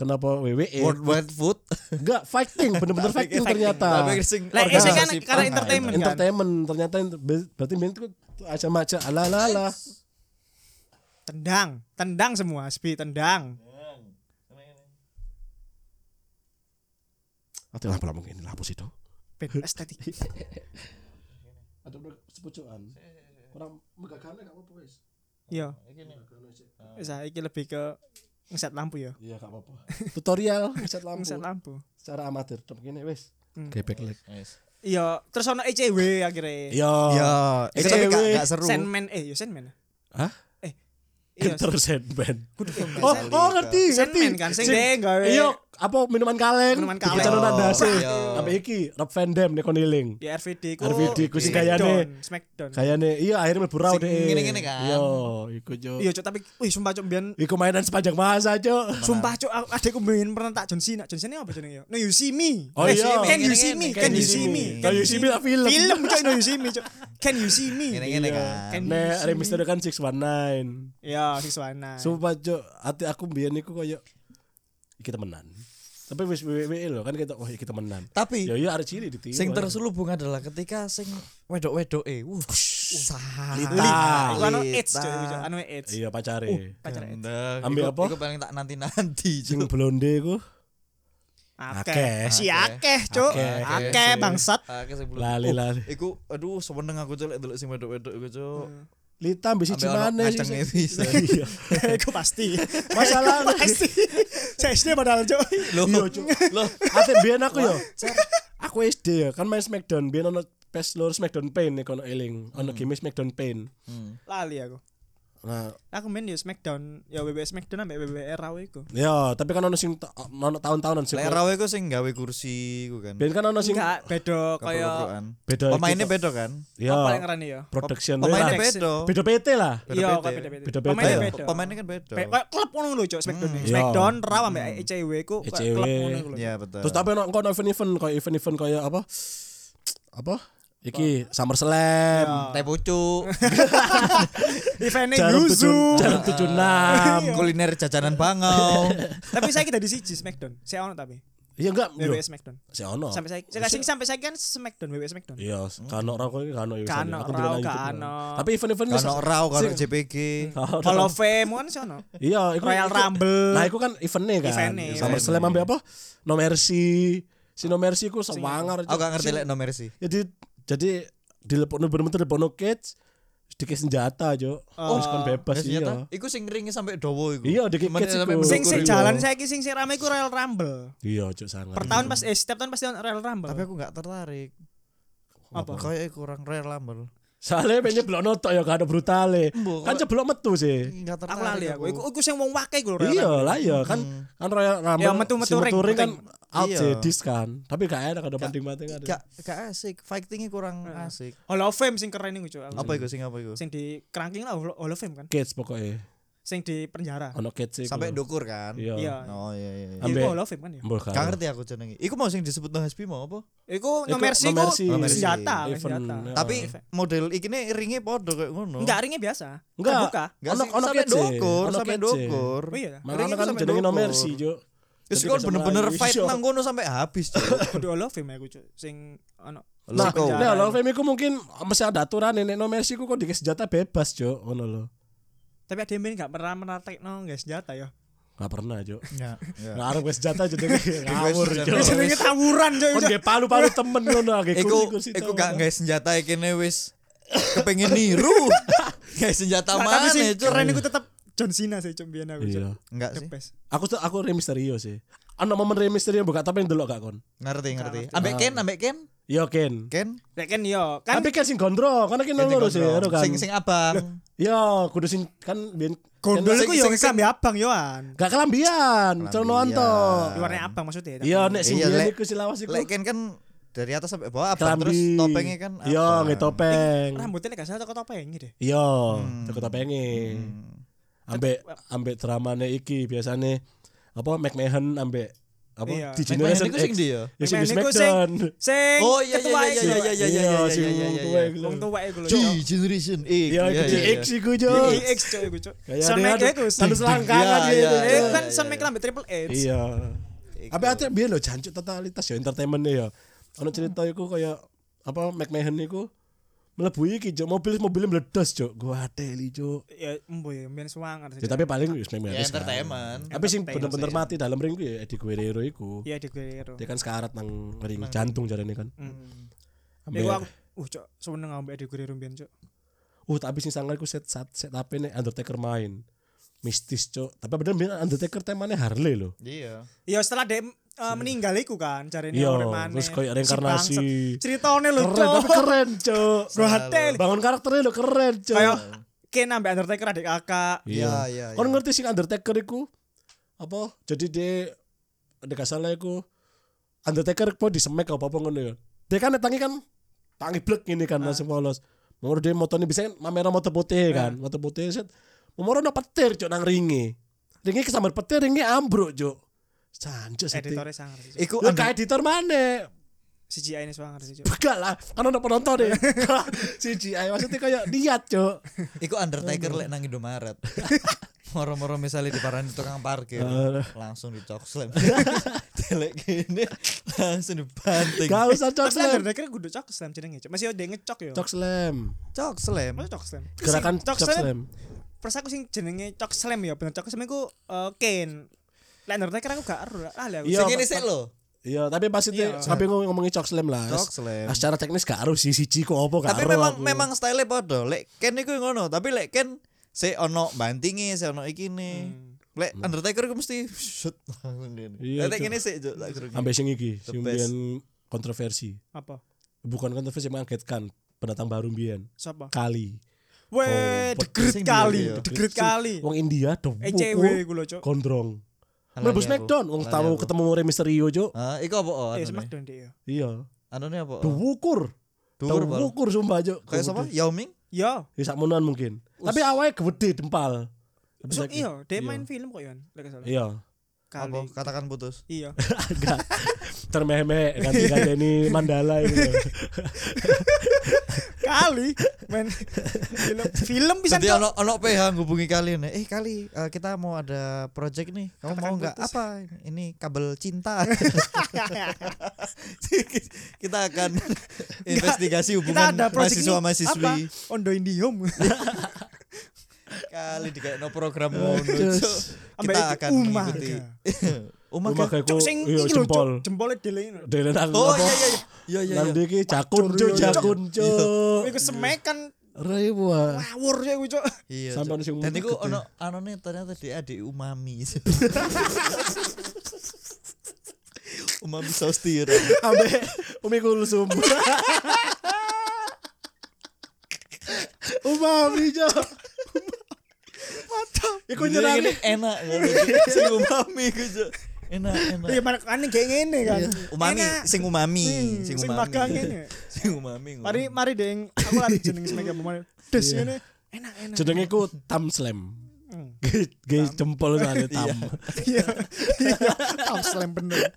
Speaker 2: kenapa WWE
Speaker 3: World Wide Food.
Speaker 2: enggak fighting bener-bener fighting
Speaker 3: Tak
Speaker 2: ternyata
Speaker 3: pikir sing
Speaker 1: Lah,
Speaker 2: ini kan
Speaker 1: karena
Speaker 3: organisasi pan.
Speaker 1: entertainment. kan?
Speaker 2: entertainment ternyata ent- ber- berarti main itu aja-aja ala ala ala
Speaker 1: Tendang, tendang semua, Spi, tendang.
Speaker 2: atau lah pula mungkin lah itu
Speaker 1: Ben estetik.
Speaker 2: ada sepucuan
Speaker 1: Iya,
Speaker 2: orang megagana gak apa-apa guys
Speaker 1: Yo. Saya Iya. ah, iki lebih ke ngeset lampu ya.
Speaker 2: iya gak apa-apa tutorial ngecat
Speaker 1: Ngeset
Speaker 2: lampu
Speaker 1: lampu.
Speaker 2: secara amatir cuma gini wes
Speaker 1: Hmm.
Speaker 2: gebek lek
Speaker 1: Iya, terus ono ECW akhirnya.
Speaker 2: iya
Speaker 3: Ya, itu
Speaker 2: Cewek.
Speaker 3: tapi gak, gak seru.
Speaker 1: Sandman eh yo Sandman.
Speaker 2: Hah?
Speaker 1: Eh. Iya.
Speaker 2: terus headband
Speaker 1: Kudu Sandman.
Speaker 2: oh
Speaker 1: kan.
Speaker 2: oh ngerti ngerti
Speaker 1: Sandman kan sing deh gawe.
Speaker 2: iya apa minuman kaleng
Speaker 1: Minuman
Speaker 2: Bikin
Speaker 1: kaleng. Iya.
Speaker 2: cadonan
Speaker 3: Oh,
Speaker 2: dasi.
Speaker 3: iya.
Speaker 2: sampai iki Rob Van Dam nih koniling
Speaker 1: Di RVD ku.
Speaker 2: RVD ku sing
Speaker 1: Smackdown,
Speaker 2: gayane.
Speaker 1: Smackdown.
Speaker 2: kayaknya iya akhirnya melebur raw
Speaker 3: Sing
Speaker 2: deh
Speaker 3: ngene-ngene kan.
Speaker 2: iya iku jo
Speaker 1: Iya, Cuk, tapi wih sumpah Cuk biyen
Speaker 2: iku mainan sepanjang masa jo
Speaker 1: Sumpah cuk, aku- adekku main pernah tak John Cena. John Cena apa jenenge yo? No you see me.
Speaker 2: Oh,
Speaker 1: Eh,
Speaker 2: iya.
Speaker 1: Can you
Speaker 3: Ngene-ngene,
Speaker 1: see me? Can you see me?
Speaker 2: Can you see me? Kan Tak film.
Speaker 1: kan Film cuk, no you see me cuk. Can you see me? Iya.
Speaker 3: Ngene-ngene kan.
Speaker 1: Can you
Speaker 2: Nek
Speaker 1: see
Speaker 2: remix
Speaker 1: me?
Speaker 2: itu kan 619
Speaker 1: Ya, siswana.
Speaker 2: Sumpah jo Hati aku biar niku koyo Iki temenan Tapi wis WWE loh kan kita Wah iki temenan
Speaker 3: Tapi
Speaker 2: Ya iya arek cilik ditiru ae.
Speaker 3: sing terselubung adalah ketika sing wedok-wedok eh wuh sah.
Speaker 1: Lita.
Speaker 2: Ah,
Speaker 1: Iku anu AIDS cuk, iku, Cuk. anu AIDS.
Speaker 2: Iya pacare
Speaker 3: Uh,
Speaker 1: Pacar AIDS.
Speaker 2: Ambil apa?
Speaker 3: Iku paling tak nanti-nanti
Speaker 2: Sing
Speaker 3: Cuk.
Speaker 2: blonde ku Akeh.
Speaker 1: Akeh. Si akeh cuk.
Speaker 2: Akeh.
Speaker 1: Akeh bangsat.
Speaker 3: Akeh sing belum.
Speaker 2: Lali
Speaker 3: Oh,
Speaker 2: lali
Speaker 3: Iku aduh seneng aku cuk lek delok sing wedok-wedok iku cuk.
Speaker 2: Hmm. Lita ambisi
Speaker 3: Ambil ono
Speaker 2: cimane sih,
Speaker 3: kacangnya
Speaker 2: sih.
Speaker 3: bisa.
Speaker 2: Iya
Speaker 1: Iku pasti.
Speaker 2: Masalah
Speaker 1: Iku pasti. Saya SD padahal cuk.
Speaker 3: Loh.
Speaker 2: Iya cuk
Speaker 3: Loh,
Speaker 2: Ate biyen aku yo. Aku SD ya, kan main Smackdown biyen ono pes lur Smackdown Pain nek ono eling, ono game Smackdown Pain.
Speaker 3: hmm.
Speaker 1: Lali aku.
Speaker 2: Nah,
Speaker 1: Aku main di Smackdown, ya WWE Smackdown ambek WWE Raw iku.
Speaker 2: ya, tapi kan ono sing ta- ono tahun-tahunan sing.
Speaker 3: lek rawe iku sing gawe kursi iku kan.
Speaker 2: Biyen kan ono sing
Speaker 1: Enggak, beda kaya
Speaker 3: Keperluan.
Speaker 2: beda iki,
Speaker 3: Pemainnya
Speaker 2: Cuk.
Speaker 3: beda kan?
Speaker 2: Ya,
Speaker 1: apa yang ngerani ya?
Speaker 2: production
Speaker 3: Pemainnya
Speaker 2: lah.
Speaker 1: Relax.
Speaker 3: beda.
Speaker 2: Beda PT lah.
Speaker 3: Beda
Speaker 1: Iya,
Speaker 3: PT.
Speaker 1: kok beda-beda.
Speaker 2: Beda-beda.
Speaker 1: Pemainnya
Speaker 2: Ayo,
Speaker 1: beda.
Speaker 3: Pemainnya kan beda.
Speaker 1: Be- kayak klub ngono lho, Cuk, Smackdown. ya.
Speaker 2: Hmm.
Speaker 1: Smackdown Raw ambek ECW ku kayak
Speaker 2: ECW.
Speaker 1: klub ngono iku lho.
Speaker 3: Iya, betul.
Speaker 2: Terus tapi ono engko ono event-event kayak event-event kayak apa? Apa? Iki SummerSlam.
Speaker 3: teh pucuk,
Speaker 1: Eventnya Iya.
Speaker 2: Jarum
Speaker 1: Yuzu.
Speaker 2: tujuh, jarum tujuh
Speaker 1: Iya.
Speaker 2: enam.
Speaker 3: kuliner jajanan bangau.
Speaker 1: Tapi saya kita di siji Smackdown. Saya ono tapi
Speaker 2: Iya enggak, bro.
Speaker 1: WWE Smackdown.
Speaker 2: Si ono.
Speaker 1: Sampai saya saya kasih sampai saya kan Smackdown WWE Smackdown.
Speaker 2: Iya, kano ra kowe kano ya.
Speaker 1: Kano
Speaker 2: Aku
Speaker 1: ra,
Speaker 2: belum lanjut,
Speaker 1: kano.
Speaker 2: bro. Tapi event-event
Speaker 3: Kano Rao, kano JPG.
Speaker 2: Kano
Speaker 1: Hall of Fame kan saya ono.
Speaker 2: Iya, iku,
Speaker 1: Royal
Speaker 2: iku-
Speaker 1: Rumble.
Speaker 2: Nah, iku kan eventnya kan.
Speaker 1: Eventnya,
Speaker 2: Eventnya. SummerSlam ambil apa? No Mercy. Si No Mercy iku sewangar.
Speaker 3: Aku gak ngerti lek nomor sih.
Speaker 2: Jadi jadi dilepokno bener-bener dilepokno kids dikit senjata, Jo. Oh, kan bebas iya.
Speaker 3: Iku sing ringe sampai dowo iku.
Speaker 2: Iya, dikit
Speaker 3: Menit
Speaker 2: kids
Speaker 3: sampai
Speaker 2: iku.
Speaker 1: Sing
Speaker 3: menit.
Speaker 1: sing
Speaker 2: Iya.
Speaker 1: jalan saya ki sing sing rame ku Royal Rumble.
Speaker 2: Iya, Jo sangar.
Speaker 1: Per tahun pas eh setiap tahun pasti ono Royal Rumble.
Speaker 3: Tapi aku gak tertarik.
Speaker 1: apa?
Speaker 3: Kayak kurang rare lambel.
Speaker 2: Soalnya pengen belok notok ya kan brutale.
Speaker 3: Mbok,
Speaker 2: Kan
Speaker 3: kalau-
Speaker 2: ceblok metu sih.
Speaker 1: Aku
Speaker 3: Gak tertarik.
Speaker 1: lali aku. Iku iku sing wong wake iku lho Royal
Speaker 2: Iya
Speaker 1: Rumble.
Speaker 2: lah ya kan
Speaker 3: Hmm.
Speaker 2: kan Royal Rumble.
Speaker 1: Ya, metu-metu
Speaker 2: si
Speaker 1: ring,
Speaker 2: metu ring kan
Speaker 1: ring.
Speaker 2: out
Speaker 3: Iya.
Speaker 2: sih, dis kan. Tapi gak enak ada banting-banting ada.
Speaker 3: Gak gak asik. Fightingnya kurang asik.
Speaker 1: Hall of Fame sing keren iku, Cuk. Aku-
Speaker 3: Apa iku sing apa iku?
Speaker 1: Nah. Sing di kerangking lah Hall Hall of Fame kan.
Speaker 2: Kids pokoknya.
Speaker 1: Sing di penjara.
Speaker 2: Ono kids iku.
Speaker 3: Sampai dukur kan?
Speaker 2: Iya.
Speaker 1: Iya.
Speaker 3: Oh iya iya. iya.
Speaker 1: Iku
Speaker 2: Ambek-
Speaker 1: Hall of Fame kan ya.
Speaker 2: Mbok
Speaker 3: Gak ngerti aku jenenge. Iku mau sing disebut no Hasbi mau apa?
Speaker 1: Iku
Speaker 2: Iku
Speaker 1: no mercy
Speaker 2: No
Speaker 1: ku
Speaker 2: Mercy.
Speaker 1: senjata,
Speaker 2: Event,
Speaker 1: senjata.
Speaker 2: ya.
Speaker 3: Tapi model ikine ringe podo kayak ngono.
Speaker 1: Enggak ringnya biasa.
Speaker 2: Enggak.
Speaker 1: Terbuka.
Speaker 3: Enggak
Speaker 2: Ono-
Speaker 3: sih,
Speaker 2: ono
Speaker 3: sampai
Speaker 2: kece.
Speaker 3: dokur,
Speaker 2: Ono
Speaker 3: sampai
Speaker 2: kece.
Speaker 3: dokur.
Speaker 1: Oh iya.
Speaker 2: Makanya
Speaker 3: Ringnya
Speaker 2: kan
Speaker 3: sampai
Speaker 2: jenenge no
Speaker 3: dokur.
Speaker 2: mercy, Jo.
Speaker 3: Terus
Speaker 2: Jadi Iya.
Speaker 3: kau
Speaker 2: gak
Speaker 3: bener-bener
Speaker 2: melayu,
Speaker 3: fight
Speaker 2: Jo.
Speaker 3: nang kono sampai habis, Cuk.
Speaker 1: Kudu all of him aku cuy. Sing ono.
Speaker 2: Nah,
Speaker 1: Sing penjara
Speaker 2: nah, Law
Speaker 1: itu.
Speaker 2: Fame iku mungkin mesti ada aturan nenek no mercy ku kok dikasih senjata bebas, Jo. Ngono lho.
Speaker 1: Tapi ada yang enggak pernah menatekno guys senjata ya.
Speaker 2: Gak pernah, Jo.
Speaker 3: Ya.
Speaker 2: Ngarep wis senjata jenenge ngawur, Jo.
Speaker 1: Ini jenenge tawuran cuy.
Speaker 2: Kon
Speaker 1: cuy.
Speaker 2: nggih palu-palu temen ngono akeh
Speaker 3: Iku iku gak nggae senjata iki ne wis kepengin niru. Kayak senjata
Speaker 1: Nah, Tapi
Speaker 3: mana
Speaker 1: sing
Speaker 3: Cuk?
Speaker 1: keren iku tetep John Cena sih cuy biyen aku cuy.
Speaker 2: Iya.
Speaker 3: Enggak
Speaker 1: The
Speaker 3: sih.
Speaker 1: best.
Speaker 2: Aku tuh aku Rey Mysterio sih. Ana momen Rey Mysterio buka tapi ndelok gak kon.
Speaker 3: Ngerti ngerti. Ambek Ken, ambek Ken.
Speaker 2: Yo Ken.
Speaker 3: Ken.
Speaker 1: Lek kan yo kan
Speaker 2: Tapi kan sing gondrong, kan iki
Speaker 3: Ken
Speaker 2: loro sih,
Speaker 3: Gondrong.
Speaker 2: ero kan.
Speaker 3: Sing sing abang.
Speaker 2: Yo, kudu sing kan biyen
Speaker 1: gondol
Speaker 3: sing-
Speaker 1: iku yo
Speaker 3: sing- sing-
Speaker 1: sampe abang yoan.
Speaker 2: gak kelambian, celonoan to.
Speaker 1: Warnanya abang maksudnya.
Speaker 2: Iya, nek sing
Speaker 3: Iya,
Speaker 2: biyen
Speaker 3: lek-
Speaker 2: iku silawas iku.
Speaker 3: Lek Ken kan dari atas sampai bawah abang
Speaker 2: Kelambi. Iya,
Speaker 3: terus topengnya kan
Speaker 2: Yo,
Speaker 3: abang.
Speaker 2: nggih topeng.
Speaker 1: Rambutnya lek gak salah toko topeng deh.
Speaker 2: Iya,
Speaker 3: Hmm.
Speaker 2: teko topenge. Ambek ambek dramane iki biasane apa McMahon ambek eh apa
Speaker 1: Iya.
Speaker 2: di
Speaker 3: Main
Speaker 2: generation
Speaker 3: niku sing ndi ya?
Speaker 2: Ya sing di
Speaker 1: Main niku sing-
Speaker 2: Smackdown.
Speaker 1: Sing
Speaker 3: Oh iya iya
Speaker 1: ketua
Speaker 3: iya
Speaker 1: iku lho,
Speaker 3: iya iya iya
Speaker 2: Iya,
Speaker 3: iya iya
Speaker 2: sing
Speaker 3: iya
Speaker 2: wong
Speaker 3: iya
Speaker 2: tua
Speaker 3: iya.
Speaker 2: iku.
Speaker 1: Wong tua iku lho.
Speaker 3: G generation X.
Speaker 2: Iya,
Speaker 3: Iya,
Speaker 2: di
Speaker 3: iya,
Speaker 2: X
Speaker 3: iya.
Speaker 2: iku jo.
Speaker 1: Iya, X cok iku cok.
Speaker 2: Kayak
Speaker 1: Son
Speaker 2: ya, ada-
Speaker 1: Michael iku.
Speaker 2: Terus langkangan
Speaker 3: Iya,
Speaker 2: gitu.
Speaker 1: Eh
Speaker 3: iya,
Speaker 1: kan
Speaker 3: iya,
Speaker 1: Son
Speaker 3: iya.
Speaker 1: Michael ambil triple H.
Speaker 2: Iya. Apa ate biyen lho jancuk totalitas ya entertainment-e ya. Ono cerita iku kaya apa McMahon niku mlebu iki Cuk. mobil mobilnya meledas Cuk. Gua ateli Cuk.
Speaker 1: Ya embo ya mbiyen suwangar sih.
Speaker 2: Ya,
Speaker 1: Cok.
Speaker 2: tapi paling wis McMahon.
Speaker 3: Ya,
Speaker 2: sekarang.
Speaker 3: entertainment.
Speaker 2: Tapi sing
Speaker 1: Entertainment
Speaker 2: bener-bener mati dalam ring ku ya Eddie Guerrero iku.
Speaker 1: Iya di Guerrero.
Speaker 2: Dia kan sekarat nang ring jantung jarane kan. Ambil-
Speaker 1: Hmm. Iku aku uh cok seneng ambek di Guerrero mbiyen cok.
Speaker 2: Uh, tapi sing sangar iku set set set apa nih Undertaker main. Mistis, Cuk. Tapi bener bener Undertaker temanya Harley loh.
Speaker 3: Iya.
Speaker 1: Ya setelah dia eh, meninggal iku kan carane
Speaker 2: Iya,
Speaker 1: urip maneh.
Speaker 2: terus kayak
Speaker 1: Si
Speaker 2: reinkarnasi.
Speaker 1: bangsat. Ceritane lho
Speaker 2: Keren,
Speaker 1: cok.
Speaker 2: tapi keren, Cuk.
Speaker 1: Gua hotel.
Speaker 2: Bangun karakternya lo keren, Cuk.
Speaker 1: Kayak Kane ambek Undertaker adik kakak. Eh,
Speaker 3: Iya, iya,
Speaker 2: Kon
Speaker 3: iya.
Speaker 2: ngerti sing Undertaker iku apa? Jadi dia ada gak salah iku Undertaker apa disemek apa apa ngono ya. Dia kan tangi kan tangi blek ini kan langsung polos. Menurut dia motornya bisa kan mamera motor putih kan, motor putih set. Memoro no petir cuk nang ringi. Ringi kesambar petir ringi ambruk cuk. Sanjo sih.
Speaker 1: Editore sangar sih. Cok.
Speaker 3: Iku
Speaker 2: Lu
Speaker 3: under-
Speaker 2: kayak editor mana?
Speaker 1: CGI ini suwangar sih cok.
Speaker 2: Begal lah, kan ada penonton deh. CGI maksudnya kayak lihat cok.
Speaker 3: Iku Undertaker lek nang Indomaret. Moro-moro misalnya diparani tukang parkir, langsung dicok slam. Delek gini, langsung dibanting.
Speaker 2: Gak usah cok
Speaker 1: Mas
Speaker 2: slam.
Speaker 1: Undertaker kudu cok slam jenenge cok. Masih ada yang ngecok ya.
Speaker 2: Cok slam.
Speaker 3: Cok slam.
Speaker 1: Masa cok slam.
Speaker 2: Gerakan
Speaker 1: Si
Speaker 2: cok slam.
Speaker 1: Pers aku sing jenenge cok slam ya bener cok slam iku eh, Kane. Lah Undertaker aku gak ero ahli aku.
Speaker 2: Iya,
Speaker 3: Sing ini sik lho.
Speaker 2: Iya, tapi pas itu
Speaker 1: Iya.
Speaker 2: sampai ngomong ngomongin cok slam lah.
Speaker 3: Cok slam.
Speaker 2: Ah, Secara teknis gak harus si siji kok apa gak
Speaker 3: Tapi
Speaker 2: harus
Speaker 3: memang
Speaker 2: aku.
Speaker 3: memang style padha. Lek Ken iku yang ngono, tapi lek Ken sik ono bantinge, sik ono iki ne. Lek Undertaker iku mesti shut langsung gini.
Speaker 2: Hmm. Iya,
Speaker 3: Lek
Speaker 2: Cok.
Speaker 3: kene sik Cok, tak jerugi.
Speaker 2: ambil sing iki,
Speaker 3: The
Speaker 2: sing
Speaker 3: best.
Speaker 2: mbiyen kontroversi.
Speaker 1: Apa?
Speaker 2: Bukan kontroversi mengagetkan pendatang baru mbiyen.
Speaker 1: Siapa?
Speaker 2: Kali.
Speaker 1: Weh,
Speaker 3: pot-
Speaker 1: degrit
Speaker 3: Oh, sing
Speaker 1: kali,
Speaker 3: dulu ya.
Speaker 1: degrit
Speaker 2: Sing
Speaker 1: kali.
Speaker 2: Wong India do
Speaker 3: Eh,
Speaker 1: ECW gue lo cok.
Speaker 2: gondrong.
Speaker 3: Alay
Speaker 2: Mlebu
Speaker 3: aku.
Speaker 2: Smackdown wong
Speaker 3: Alay
Speaker 2: tahu
Speaker 3: aku.
Speaker 2: ketemu Rey Mysterio, Cuk.
Speaker 3: Ah, iku apa oh,
Speaker 1: Eh
Speaker 3: anone?
Speaker 1: Smackdown dia.
Speaker 2: Iya.
Speaker 3: Anone apa? oh?
Speaker 2: Duwukur.
Speaker 3: Dhuwur apa?
Speaker 2: Duwukur sumpah, Cuk.
Speaker 3: Kayak sapa? Yao Ming?
Speaker 1: Yo,
Speaker 2: Ya sakmonoan mungkin. Tapi awalnya gede dempal. Habis
Speaker 1: so,
Speaker 2: lagi.
Speaker 1: iyo, dia
Speaker 2: Iya.
Speaker 1: main film kok yon, lek salah.
Speaker 2: Iya.
Speaker 1: Kali.
Speaker 3: Apa katakan putus?
Speaker 1: Iya.
Speaker 2: Enggak. Termeh-meh ganti ini mandala ini. ya.
Speaker 1: Kali main film film bisa
Speaker 3: Jadi
Speaker 1: cok.
Speaker 3: ono ono PH ngubungi kalian eh kali eh, kita mau ada project nih kamu mau nggak apa ini kabel cinta kita akan
Speaker 1: Kita
Speaker 3: investigasi hubungan
Speaker 1: ada project
Speaker 3: mahasiswa
Speaker 1: ini apa?
Speaker 3: mahasiswi Iya,
Speaker 1: Ondo Indium.
Speaker 3: kali di no program ngono,
Speaker 2: Cus.
Speaker 3: Cuk.
Speaker 1: Ambek
Speaker 3: kita
Speaker 1: itu
Speaker 3: akan
Speaker 1: Umaga.
Speaker 3: mengikuti Umaga.
Speaker 2: Rumah kayak
Speaker 1: Cok sing
Speaker 2: iya
Speaker 1: iki lo
Speaker 2: jempol.
Speaker 1: cok, jempolnya delein.
Speaker 2: Dele nang
Speaker 3: oh
Speaker 2: apa?
Speaker 3: iya iya iya iya
Speaker 2: Nang
Speaker 3: iya
Speaker 2: iki jakun cuk,
Speaker 1: iya,
Speaker 2: jakun cuk. Iya.
Speaker 1: Iku semekan
Speaker 2: Rewa.
Speaker 1: ngawur ya gue cok.
Speaker 3: iya
Speaker 2: Sampai ono sing
Speaker 3: Cuk. dan
Speaker 2: ngomong
Speaker 3: itu
Speaker 2: gitu.
Speaker 3: ono anone ternyata dia adik umami umami saus tiram
Speaker 2: Ambe umi kulsum. Umami cuk.
Speaker 1: Ya,
Speaker 2: Iku
Speaker 3: Gila,
Speaker 2: nyerang.
Speaker 3: ini enak ngono, Cuk. sing umami ku, Cuk. enak enak
Speaker 1: Iya makane kayak ngene kan.
Speaker 3: umami
Speaker 1: Enak.
Speaker 3: sing umami
Speaker 1: Hmm,
Speaker 3: sing
Speaker 1: sing
Speaker 3: umami
Speaker 1: magang ini.
Speaker 3: sing umami ngono.
Speaker 1: Mari mari deng aku lari jeneng semekan pemain. Des ngene. Enak enak.
Speaker 2: Iya. Jenenge ku Tam Slam.
Speaker 1: Hmm.
Speaker 2: Gay jempol soalnya tam.
Speaker 1: Iya. Iya. Tam slam bener.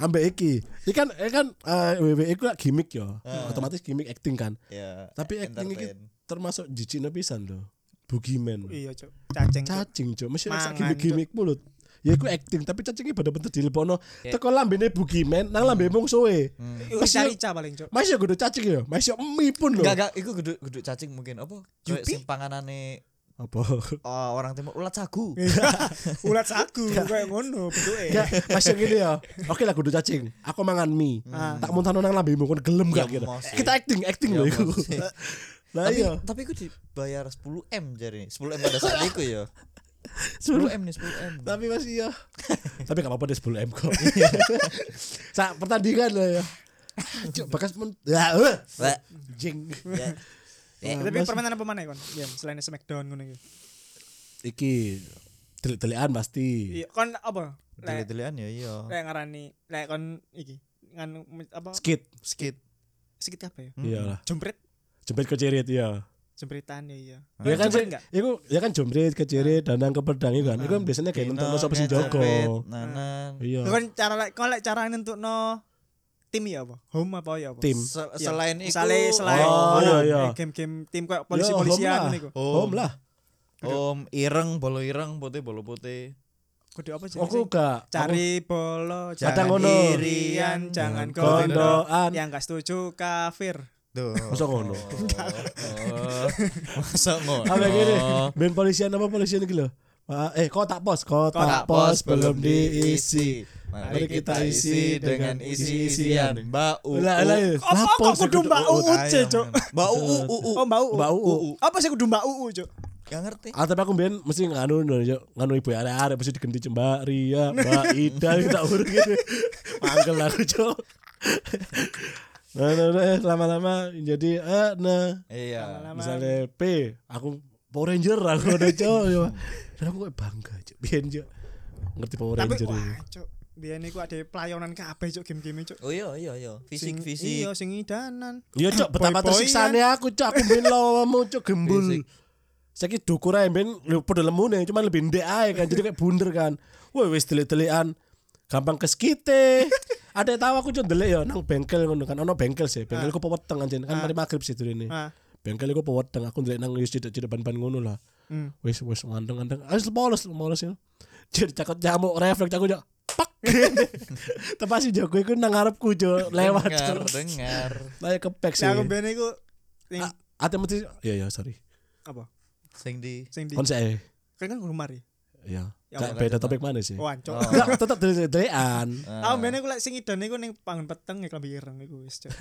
Speaker 2: Ambek iki. Iki kan iki kan eh, WWE ku lah gimmick yo. Otomatis gimmick acting kan.
Speaker 3: ya
Speaker 2: Tapi gitu- acting iki
Speaker 3: entertain.
Speaker 2: termasuk jijiknya pisan loh. Boogeyman.
Speaker 1: Iya cok. Cacing. Cok.
Speaker 2: cacing cok mesti
Speaker 1: Mangan,
Speaker 2: sak gimmick-gimmick mulut ya iku acting tapi cacingnya bener-bener dilebono teko lambene bugimen nang lambe
Speaker 3: Hmm.
Speaker 2: mung suwe Masih-
Speaker 1: Rica-rica paling cok.
Speaker 2: masih ya kudu cacing ya masih ya emi pun lho
Speaker 3: Enggak enggak iku geduk geduk cacing mungkin apa? Kayak
Speaker 1: Yupi?
Speaker 3: sing panganane
Speaker 2: apa
Speaker 3: uh, orang timur ulat sagu.
Speaker 1: Iya, Ulat sagu kayak ngono bentuke.
Speaker 2: Enggak, masih yang gini ya oke lah kudu cacing aku mangan mie
Speaker 3: Hmm.
Speaker 2: tak muntahno nang lambe mung kon gelem gak
Speaker 3: Ya,
Speaker 2: kira
Speaker 3: mos, ya.
Speaker 2: kita acting acting lho
Speaker 3: Ya,
Speaker 2: iku
Speaker 3: mos, ya.
Speaker 2: lah
Speaker 3: tapi
Speaker 2: iya
Speaker 3: tapi iku dibayar 10 m jari 10 m pada saat iku ya. 10 m nih 10 m.
Speaker 1: Nah,
Speaker 2: tapi masih ya tapi gak apa-apa deh 10 m kok sak pertandingan lah ya Cuk, bekas men ya eh.
Speaker 3: Lek.
Speaker 2: jing Nah,
Speaker 3: Ya.
Speaker 1: Ya, Tapi
Speaker 2: Mas-
Speaker 1: permainan apa mana kon? Ya selain Smackdown ngono iki.
Speaker 2: iki delik-delikan pasti
Speaker 1: Iya kon apa? Lek
Speaker 3: Dele-delean ya iya.
Speaker 1: lek ngarani lek kon iki ngan apa
Speaker 2: skit Iya
Speaker 3: Skit.
Speaker 1: sikit apa ya?
Speaker 2: iyalah
Speaker 1: Jempret.
Speaker 2: jepit kecerit ya
Speaker 1: jempritan ya iya.
Speaker 2: Ya
Speaker 1: Jempritan
Speaker 2: kan sih,
Speaker 1: enggak?
Speaker 2: iku ya kan jomret keciri dandang ke pedang iku kan. Iku kan biasanya kayak
Speaker 3: Dino,
Speaker 2: nonton sapa sing
Speaker 3: Kecapit,
Speaker 2: jaga.
Speaker 3: Nah, nanan
Speaker 2: Iya.
Speaker 1: Kan cara lek kalau lek cara nentukno tim ya apa? Home apa ya apa?
Speaker 2: Tim.
Speaker 3: Se-
Speaker 1: Iya.
Speaker 3: selain itu
Speaker 1: Misalnya selain
Speaker 2: Oh, iya, iya.
Speaker 1: game-game tim kayak
Speaker 2: Ya,
Speaker 1: polisi-polisian
Speaker 2: home lah.
Speaker 1: niku.
Speaker 2: Home lah.
Speaker 3: om ireng bolo ireng putih bolo putih
Speaker 1: Kudu apa sih?
Speaker 2: Aku gak
Speaker 1: Cari bolo
Speaker 2: Ada
Speaker 1: jangan
Speaker 2: ngono. Iya,
Speaker 1: irian jangan
Speaker 2: aku
Speaker 1: kondo
Speaker 2: kondoan.
Speaker 1: yang gak setuju kafir
Speaker 3: Duh.
Speaker 2: Masa ngono?
Speaker 3: Oh. Masa
Speaker 1: Oh.
Speaker 3: ngono?
Speaker 2: Apa gini? Ben polisian apa polisian iki lho? Ah, Eh, kotak pos,
Speaker 1: Kotak
Speaker 2: kotak pos belum diisi.
Speaker 3: Mari kita isi dengan isi-isian Mbak U.
Speaker 2: Lah, lah,
Speaker 3: U.
Speaker 2: iya.
Speaker 1: Apa Uh,
Speaker 2: Lah, uh,
Speaker 1: kok
Speaker 2: pos
Speaker 1: kudu
Speaker 2: itu
Speaker 1: Mbak
Speaker 2: U.
Speaker 1: Uut sih,
Speaker 3: Ayo,
Speaker 1: Cuk?
Speaker 3: men. Mbak U U U.
Speaker 1: oh mbak uu
Speaker 2: Mbak Uu.
Speaker 1: apa sih kudu mbak uu Cuk?
Speaker 3: Gak ngerti.
Speaker 2: Ah, tapi aku ben mesti nganu no, yo. nganu ibu arek-arek mesti digenti Cuk, Mbak Ria, Mbak Ida kita urut gitu. Mangkel aku, Cuk. Nah, nah, nah, lama-lama jadi eh nah
Speaker 3: Iya.
Speaker 1: Lama-lama.
Speaker 2: misalnya P aku Power Ranger aku udah cowok ya dan aku kayak bangga cok biar cok ngerti Power
Speaker 1: tapi
Speaker 2: Ranger ini
Speaker 1: wah Cuk, biyen iku ada pelayanan kabeh Cok game-game Cuk.
Speaker 3: Oh iya iya iya. Fisik
Speaker 1: Sing-
Speaker 3: fisik.
Speaker 1: Iya, sing idanan.
Speaker 2: iya cok betapa
Speaker 1: Boy-boyan.
Speaker 2: tersiksaannya aku cok aku main lawamu cok gembul
Speaker 3: Fisik.
Speaker 2: saya kira dukur aja ben lu pada lemune cuma lebih ndek aja kan jadi kayak bunder kan woi wis delik-delikan gampang keskite ada yang tahu aku cok delik ya nang bengkel ngono kan ono bengkel sih bengkel aku peweteng anjir kan mari maghrib situ ini
Speaker 1: Ah.
Speaker 2: bengkel aku peweteng aku ndelik nang wis cedek-cedek ban-ban ngono lah
Speaker 1: Hmm.
Speaker 2: wis wis ngandeng ngandeng harus polos polos ya jadi cakut nyamuk refleks aku jak pak gini tepas si jago itu nang ngarepku jo lewat
Speaker 3: Dengar, dengar.
Speaker 2: kayak kepek sih
Speaker 1: Lah aku biyen iku sing
Speaker 2: A- ate mesti ya ya sorry
Speaker 1: apa?
Speaker 3: Sing di.
Speaker 1: Sing di
Speaker 2: konsep
Speaker 1: kan kan rumah ri.
Speaker 2: ya
Speaker 1: Ya,
Speaker 2: gak
Speaker 3: apa,
Speaker 2: beda
Speaker 3: apa.
Speaker 2: topik mana sih
Speaker 1: Wan Cuk.
Speaker 3: Oh.
Speaker 2: Enggak, tetap dari dean
Speaker 1: Aku biyen iku lek sing idan iku ning pangan peteng ya klambi ireng iku wis Cuk.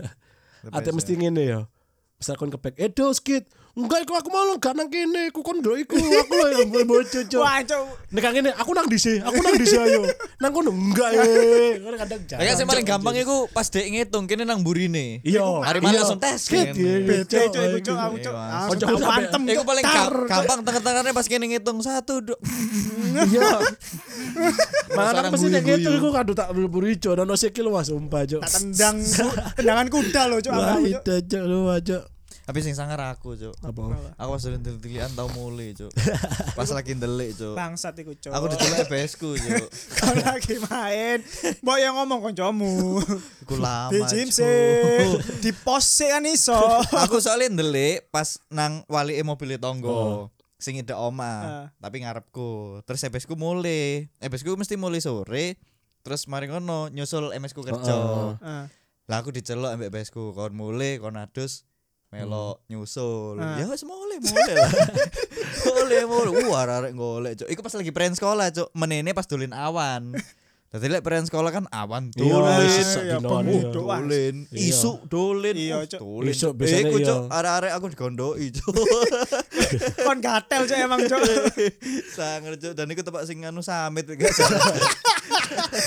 Speaker 2: ate mesti ngene ya misal kon kepek eh dos kid enggak iku aku malah gak nang kene aku kon dulu iku aku lho "Ya yang bocor cok
Speaker 1: Wah Cuk.
Speaker 2: nek kang kene aku nang dise aku nang dise ayo nang kono enggak eh Kan kadang
Speaker 3: Lah kan sing
Speaker 2: jarang,
Speaker 3: paling
Speaker 2: Cuk,
Speaker 3: gampang
Speaker 2: anjir.
Speaker 3: iku pas dek ngitung kene nang burine.
Speaker 2: Iya.
Speaker 3: Hari mana langsung tes,
Speaker 2: Kit,
Speaker 3: kan?
Speaker 2: iya,
Speaker 1: Beda
Speaker 2: Cok,
Speaker 1: Cuk iku Cuk,
Speaker 2: iya.
Speaker 1: aku Cuk.
Speaker 3: Iya,
Speaker 1: Langsung
Speaker 2: Cuk,
Speaker 1: tak
Speaker 2: sampai-
Speaker 1: pantem
Speaker 3: Iku
Speaker 1: Cuk.
Speaker 3: paling
Speaker 1: Tar.
Speaker 3: ga- gampang tengah-tengahnya pas kene ngitung satu dok.
Speaker 2: Iya. Mana
Speaker 3: Sekarang
Speaker 2: pasti yang
Speaker 3: guyu-guyu.
Speaker 2: itu gitu, iku kado tak berburu ijo dan nasi kilo wah sumpah Cuk.
Speaker 1: tak tendang tendangan kuda loh Cuk.
Speaker 2: Wah,
Speaker 1: aku, Cuk.
Speaker 2: ide Cuk lu aja.
Speaker 3: Tapi sing sangar aku, Cuk.
Speaker 2: Apa?
Speaker 3: Aku pas dulu delik-delikan tau mulai, Cuk. Pas lagi ndelik, Cuk.
Speaker 1: Bangsat iku Cuk.
Speaker 3: Aku dicelek besku, Cuk.
Speaker 1: Kau lagi main, mbok yang ngomong koncomu.
Speaker 3: Iku lama.
Speaker 1: Di
Speaker 3: Cuk.
Speaker 1: gym di pos sih kan iso.
Speaker 3: Aku soalnya ndelik pas nang walike mobil tonggo.
Speaker 2: Oh.
Speaker 3: Sing ide
Speaker 1: Ah.
Speaker 3: oma, tapi ngarepku. Terus ebesku mulai. Ebesku mesti mulai sore. Terus mari ngono nyusul MS ku kerja.
Speaker 2: Oh, oh.
Speaker 1: Ah,
Speaker 3: Lah aku dicelok ambek besku, kon mule, kon adus melo nyusul.
Speaker 1: Ah.
Speaker 3: Ya wis mule, mule lah. mule, mule. Wah, arek golek, Cuk. Iku pas lagi pren sekolah, Cuk. Menene pas dolin awan. Dadi lek pren sekolah kan awan
Speaker 1: Iya,
Speaker 3: dolin.
Speaker 1: sesak
Speaker 2: iya,
Speaker 1: dinoan,
Speaker 2: iya.
Speaker 1: iya. Doa.
Speaker 3: Dolin,
Speaker 2: Iya.
Speaker 3: isu dolin,
Speaker 1: Iya,
Speaker 3: uh,
Speaker 1: Cuk.
Speaker 3: dolin.
Speaker 2: Isuk biasanya
Speaker 3: Iku
Speaker 2: iya.
Speaker 3: cuk, arek-arek aku digondoki cuk.
Speaker 1: Kon gatel cok emang cok.
Speaker 3: Sangar cuk, dan iku tempat sing anu samit gak salah.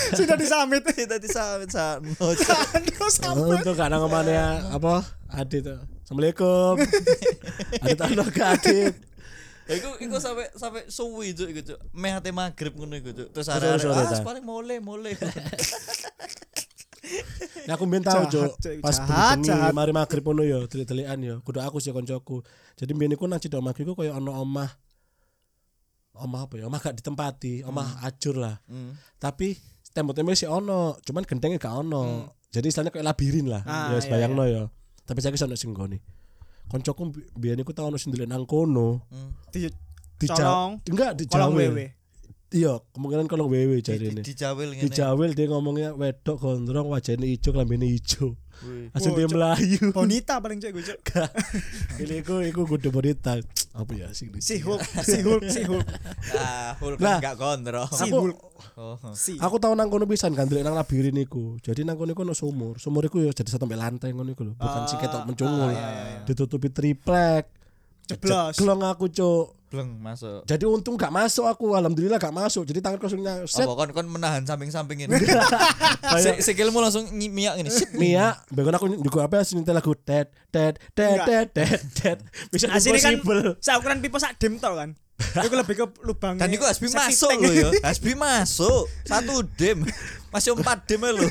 Speaker 1: Sudah disamit.
Speaker 3: Tadi samit sakno. Cuk.
Speaker 1: Aduh sampai.
Speaker 2: Untuk kadang kemana ya? apa? Adit. tuh. Assalamualaikum. Adit ono ke Adit.
Speaker 3: Iku iku sampe sampe suwi cuk iku cuk. Meh ate magrib ngono iku cuk. Terus
Speaker 2: Terus,
Speaker 3: arek-arek
Speaker 2: terus, terus,
Speaker 3: ah
Speaker 2: terus.
Speaker 3: paling mole mole.
Speaker 2: Nah, aku mbien tau
Speaker 1: Jahat,
Speaker 2: Cuk.
Speaker 1: Cuk.
Speaker 2: Pas
Speaker 1: Jahat,
Speaker 2: bengi
Speaker 1: jahat.
Speaker 2: mari magrib ono ya, delik-delikan ya. Kudu aku sih koncoku. Jadi mbien iku nang cedok omahku iku koyo ono omah omah apa ya? Omah gak ditempati, omah ajur lah.
Speaker 3: Hmm.
Speaker 2: tapi tembok-tembok sih ono cuman gentengnya gak ono jadi istilahnya kayak labirin lah
Speaker 1: Hmm. Ah,
Speaker 2: ya wis
Speaker 1: iya,
Speaker 2: bayangno ya tapi saya kisah sing nggone koncoku bi- biyen iku tau ono sing ndelok nang kono
Speaker 3: Hmm.
Speaker 1: Di
Speaker 2: di
Speaker 1: Colong.
Speaker 2: Jawa enggak di
Speaker 1: kolong
Speaker 2: Jawa
Speaker 1: wewe.
Speaker 2: iya kemungkinan kolong wewe
Speaker 3: Di,
Speaker 2: jadi ini
Speaker 3: di, jawil
Speaker 2: di
Speaker 3: ngene.
Speaker 2: Jawil dia ngomongnya wedok gondrong wajahnya ijo kelambine ijo
Speaker 3: Wih. Oh,
Speaker 2: asal
Speaker 1: Wah,
Speaker 2: dia
Speaker 1: Cuk.
Speaker 2: Melayu
Speaker 1: Bonita paling cok gue cok.
Speaker 2: ini iku iku kudu berita apa ya sing di-
Speaker 1: Si Hulk, si Hulk, si Hulk.
Speaker 3: Ah, Hulk
Speaker 2: Lah.
Speaker 3: kan gak kontrol.
Speaker 1: Si
Speaker 2: Aku-
Speaker 1: Hulk.
Speaker 3: Oh.
Speaker 1: Si.
Speaker 2: Aku tau nang kono pisan kan ndelok nang labirin iku. Jadi nang kono iku ono sumur. Sumur iku ya jadi sampai lantai ngono iku lho, bukan sing
Speaker 3: Ah,
Speaker 2: ketok mencungul. Ditutupi triplek.
Speaker 1: Jeblos.
Speaker 2: Gelong aku, Cuk.
Speaker 3: Bleng masuk.
Speaker 2: Jadi untung gak masuk aku, alhamdulillah gak masuk. Jadi tangan kosongnya set
Speaker 3: Apa kon kon menahan samping-samping ini? Se-
Speaker 2: kayak
Speaker 3: Sikilmu langsung nyi- miak ini. Sip.
Speaker 2: Mia, bangun Hmm. aku juga apa sih nyetel lagu tet tet tet tet tet tet. Bisa
Speaker 1: Asini kan
Speaker 2: impossible.
Speaker 1: saukuran pipa sak dem tau kan. Iku lebih ke lubang.
Speaker 3: Dan iku Hasbi masuk lho ya. Hasbi masuk. Satu dem. Masih empat dem ae lho.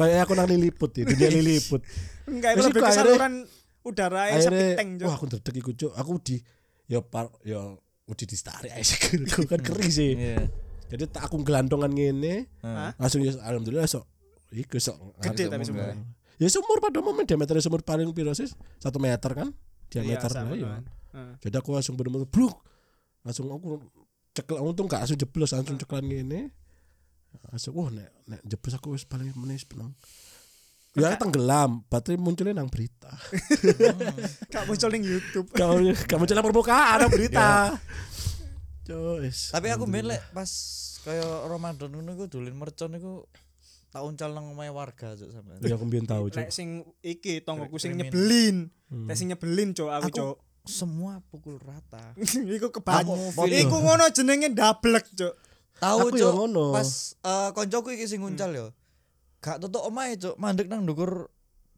Speaker 2: Kayak aku nang liliput ya, dunia liliput.
Speaker 1: Enggak, iku
Speaker 2: Terus
Speaker 1: lebih ke
Speaker 2: iku akhirnya-
Speaker 1: saluran udara sapi tank
Speaker 2: akhirnya wah aku derdek iku cuk aku di ya par ya udah distarik aja Aku kan kering sih
Speaker 3: Iya.
Speaker 2: jadi tak aku gelantongan ngene
Speaker 1: Hah?
Speaker 2: langsung ya alhamdulillah sok iku sok
Speaker 1: Gede tapi
Speaker 2: ngarep omong
Speaker 1: sumurnya.
Speaker 2: gue. ya sumur pada momen diameter sumur paling piro sih satu meter kan diameter
Speaker 1: sama
Speaker 2: iya.
Speaker 1: kan. Heeh.
Speaker 2: jadi aku langsung bener-bener bruk langsung aku cekel untung gak langsung jeblos langsung cekelan ngene langsung wah nek nek jeblos aku wis paling menis penang ya tenggelam baterai munculnya nang berita
Speaker 1: Kak muncul ning YouTube.
Speaker 2: kamu kamu celah permukaan ada berita Ya. Cus.
Speaker 3: Tapi aku mbien lek pas kaya Ramadan ngono iku dolen mercon iku tak uncal nang omahe warga cuk sampean.
Speaker 2: ya aku mbien tahu cuk
Speaker 1: Lek sing iki tonggoku sing
Speaker 3: Krimin.
Speaker 1: nyebelin. Lek sing nyebelin cok aku
Speaker 3: Aku-
Speaker 1: cok.
Speaker 3: Semua pukul rata.
Speaker 1: Iku kebanyakan.
Speaker 3: Aku feel-
Speaker 1: Iku ngono jenenge ndablek cok.
Speaker 3: Tahu
Speaker 2: Aku ya
Speaker 3: cuk,
Speaker 2: ngono.
Speaker 3: pas eh, koncoku iki sing uncal yo. Gak tutuk omahe cuk, mandek nang ndukur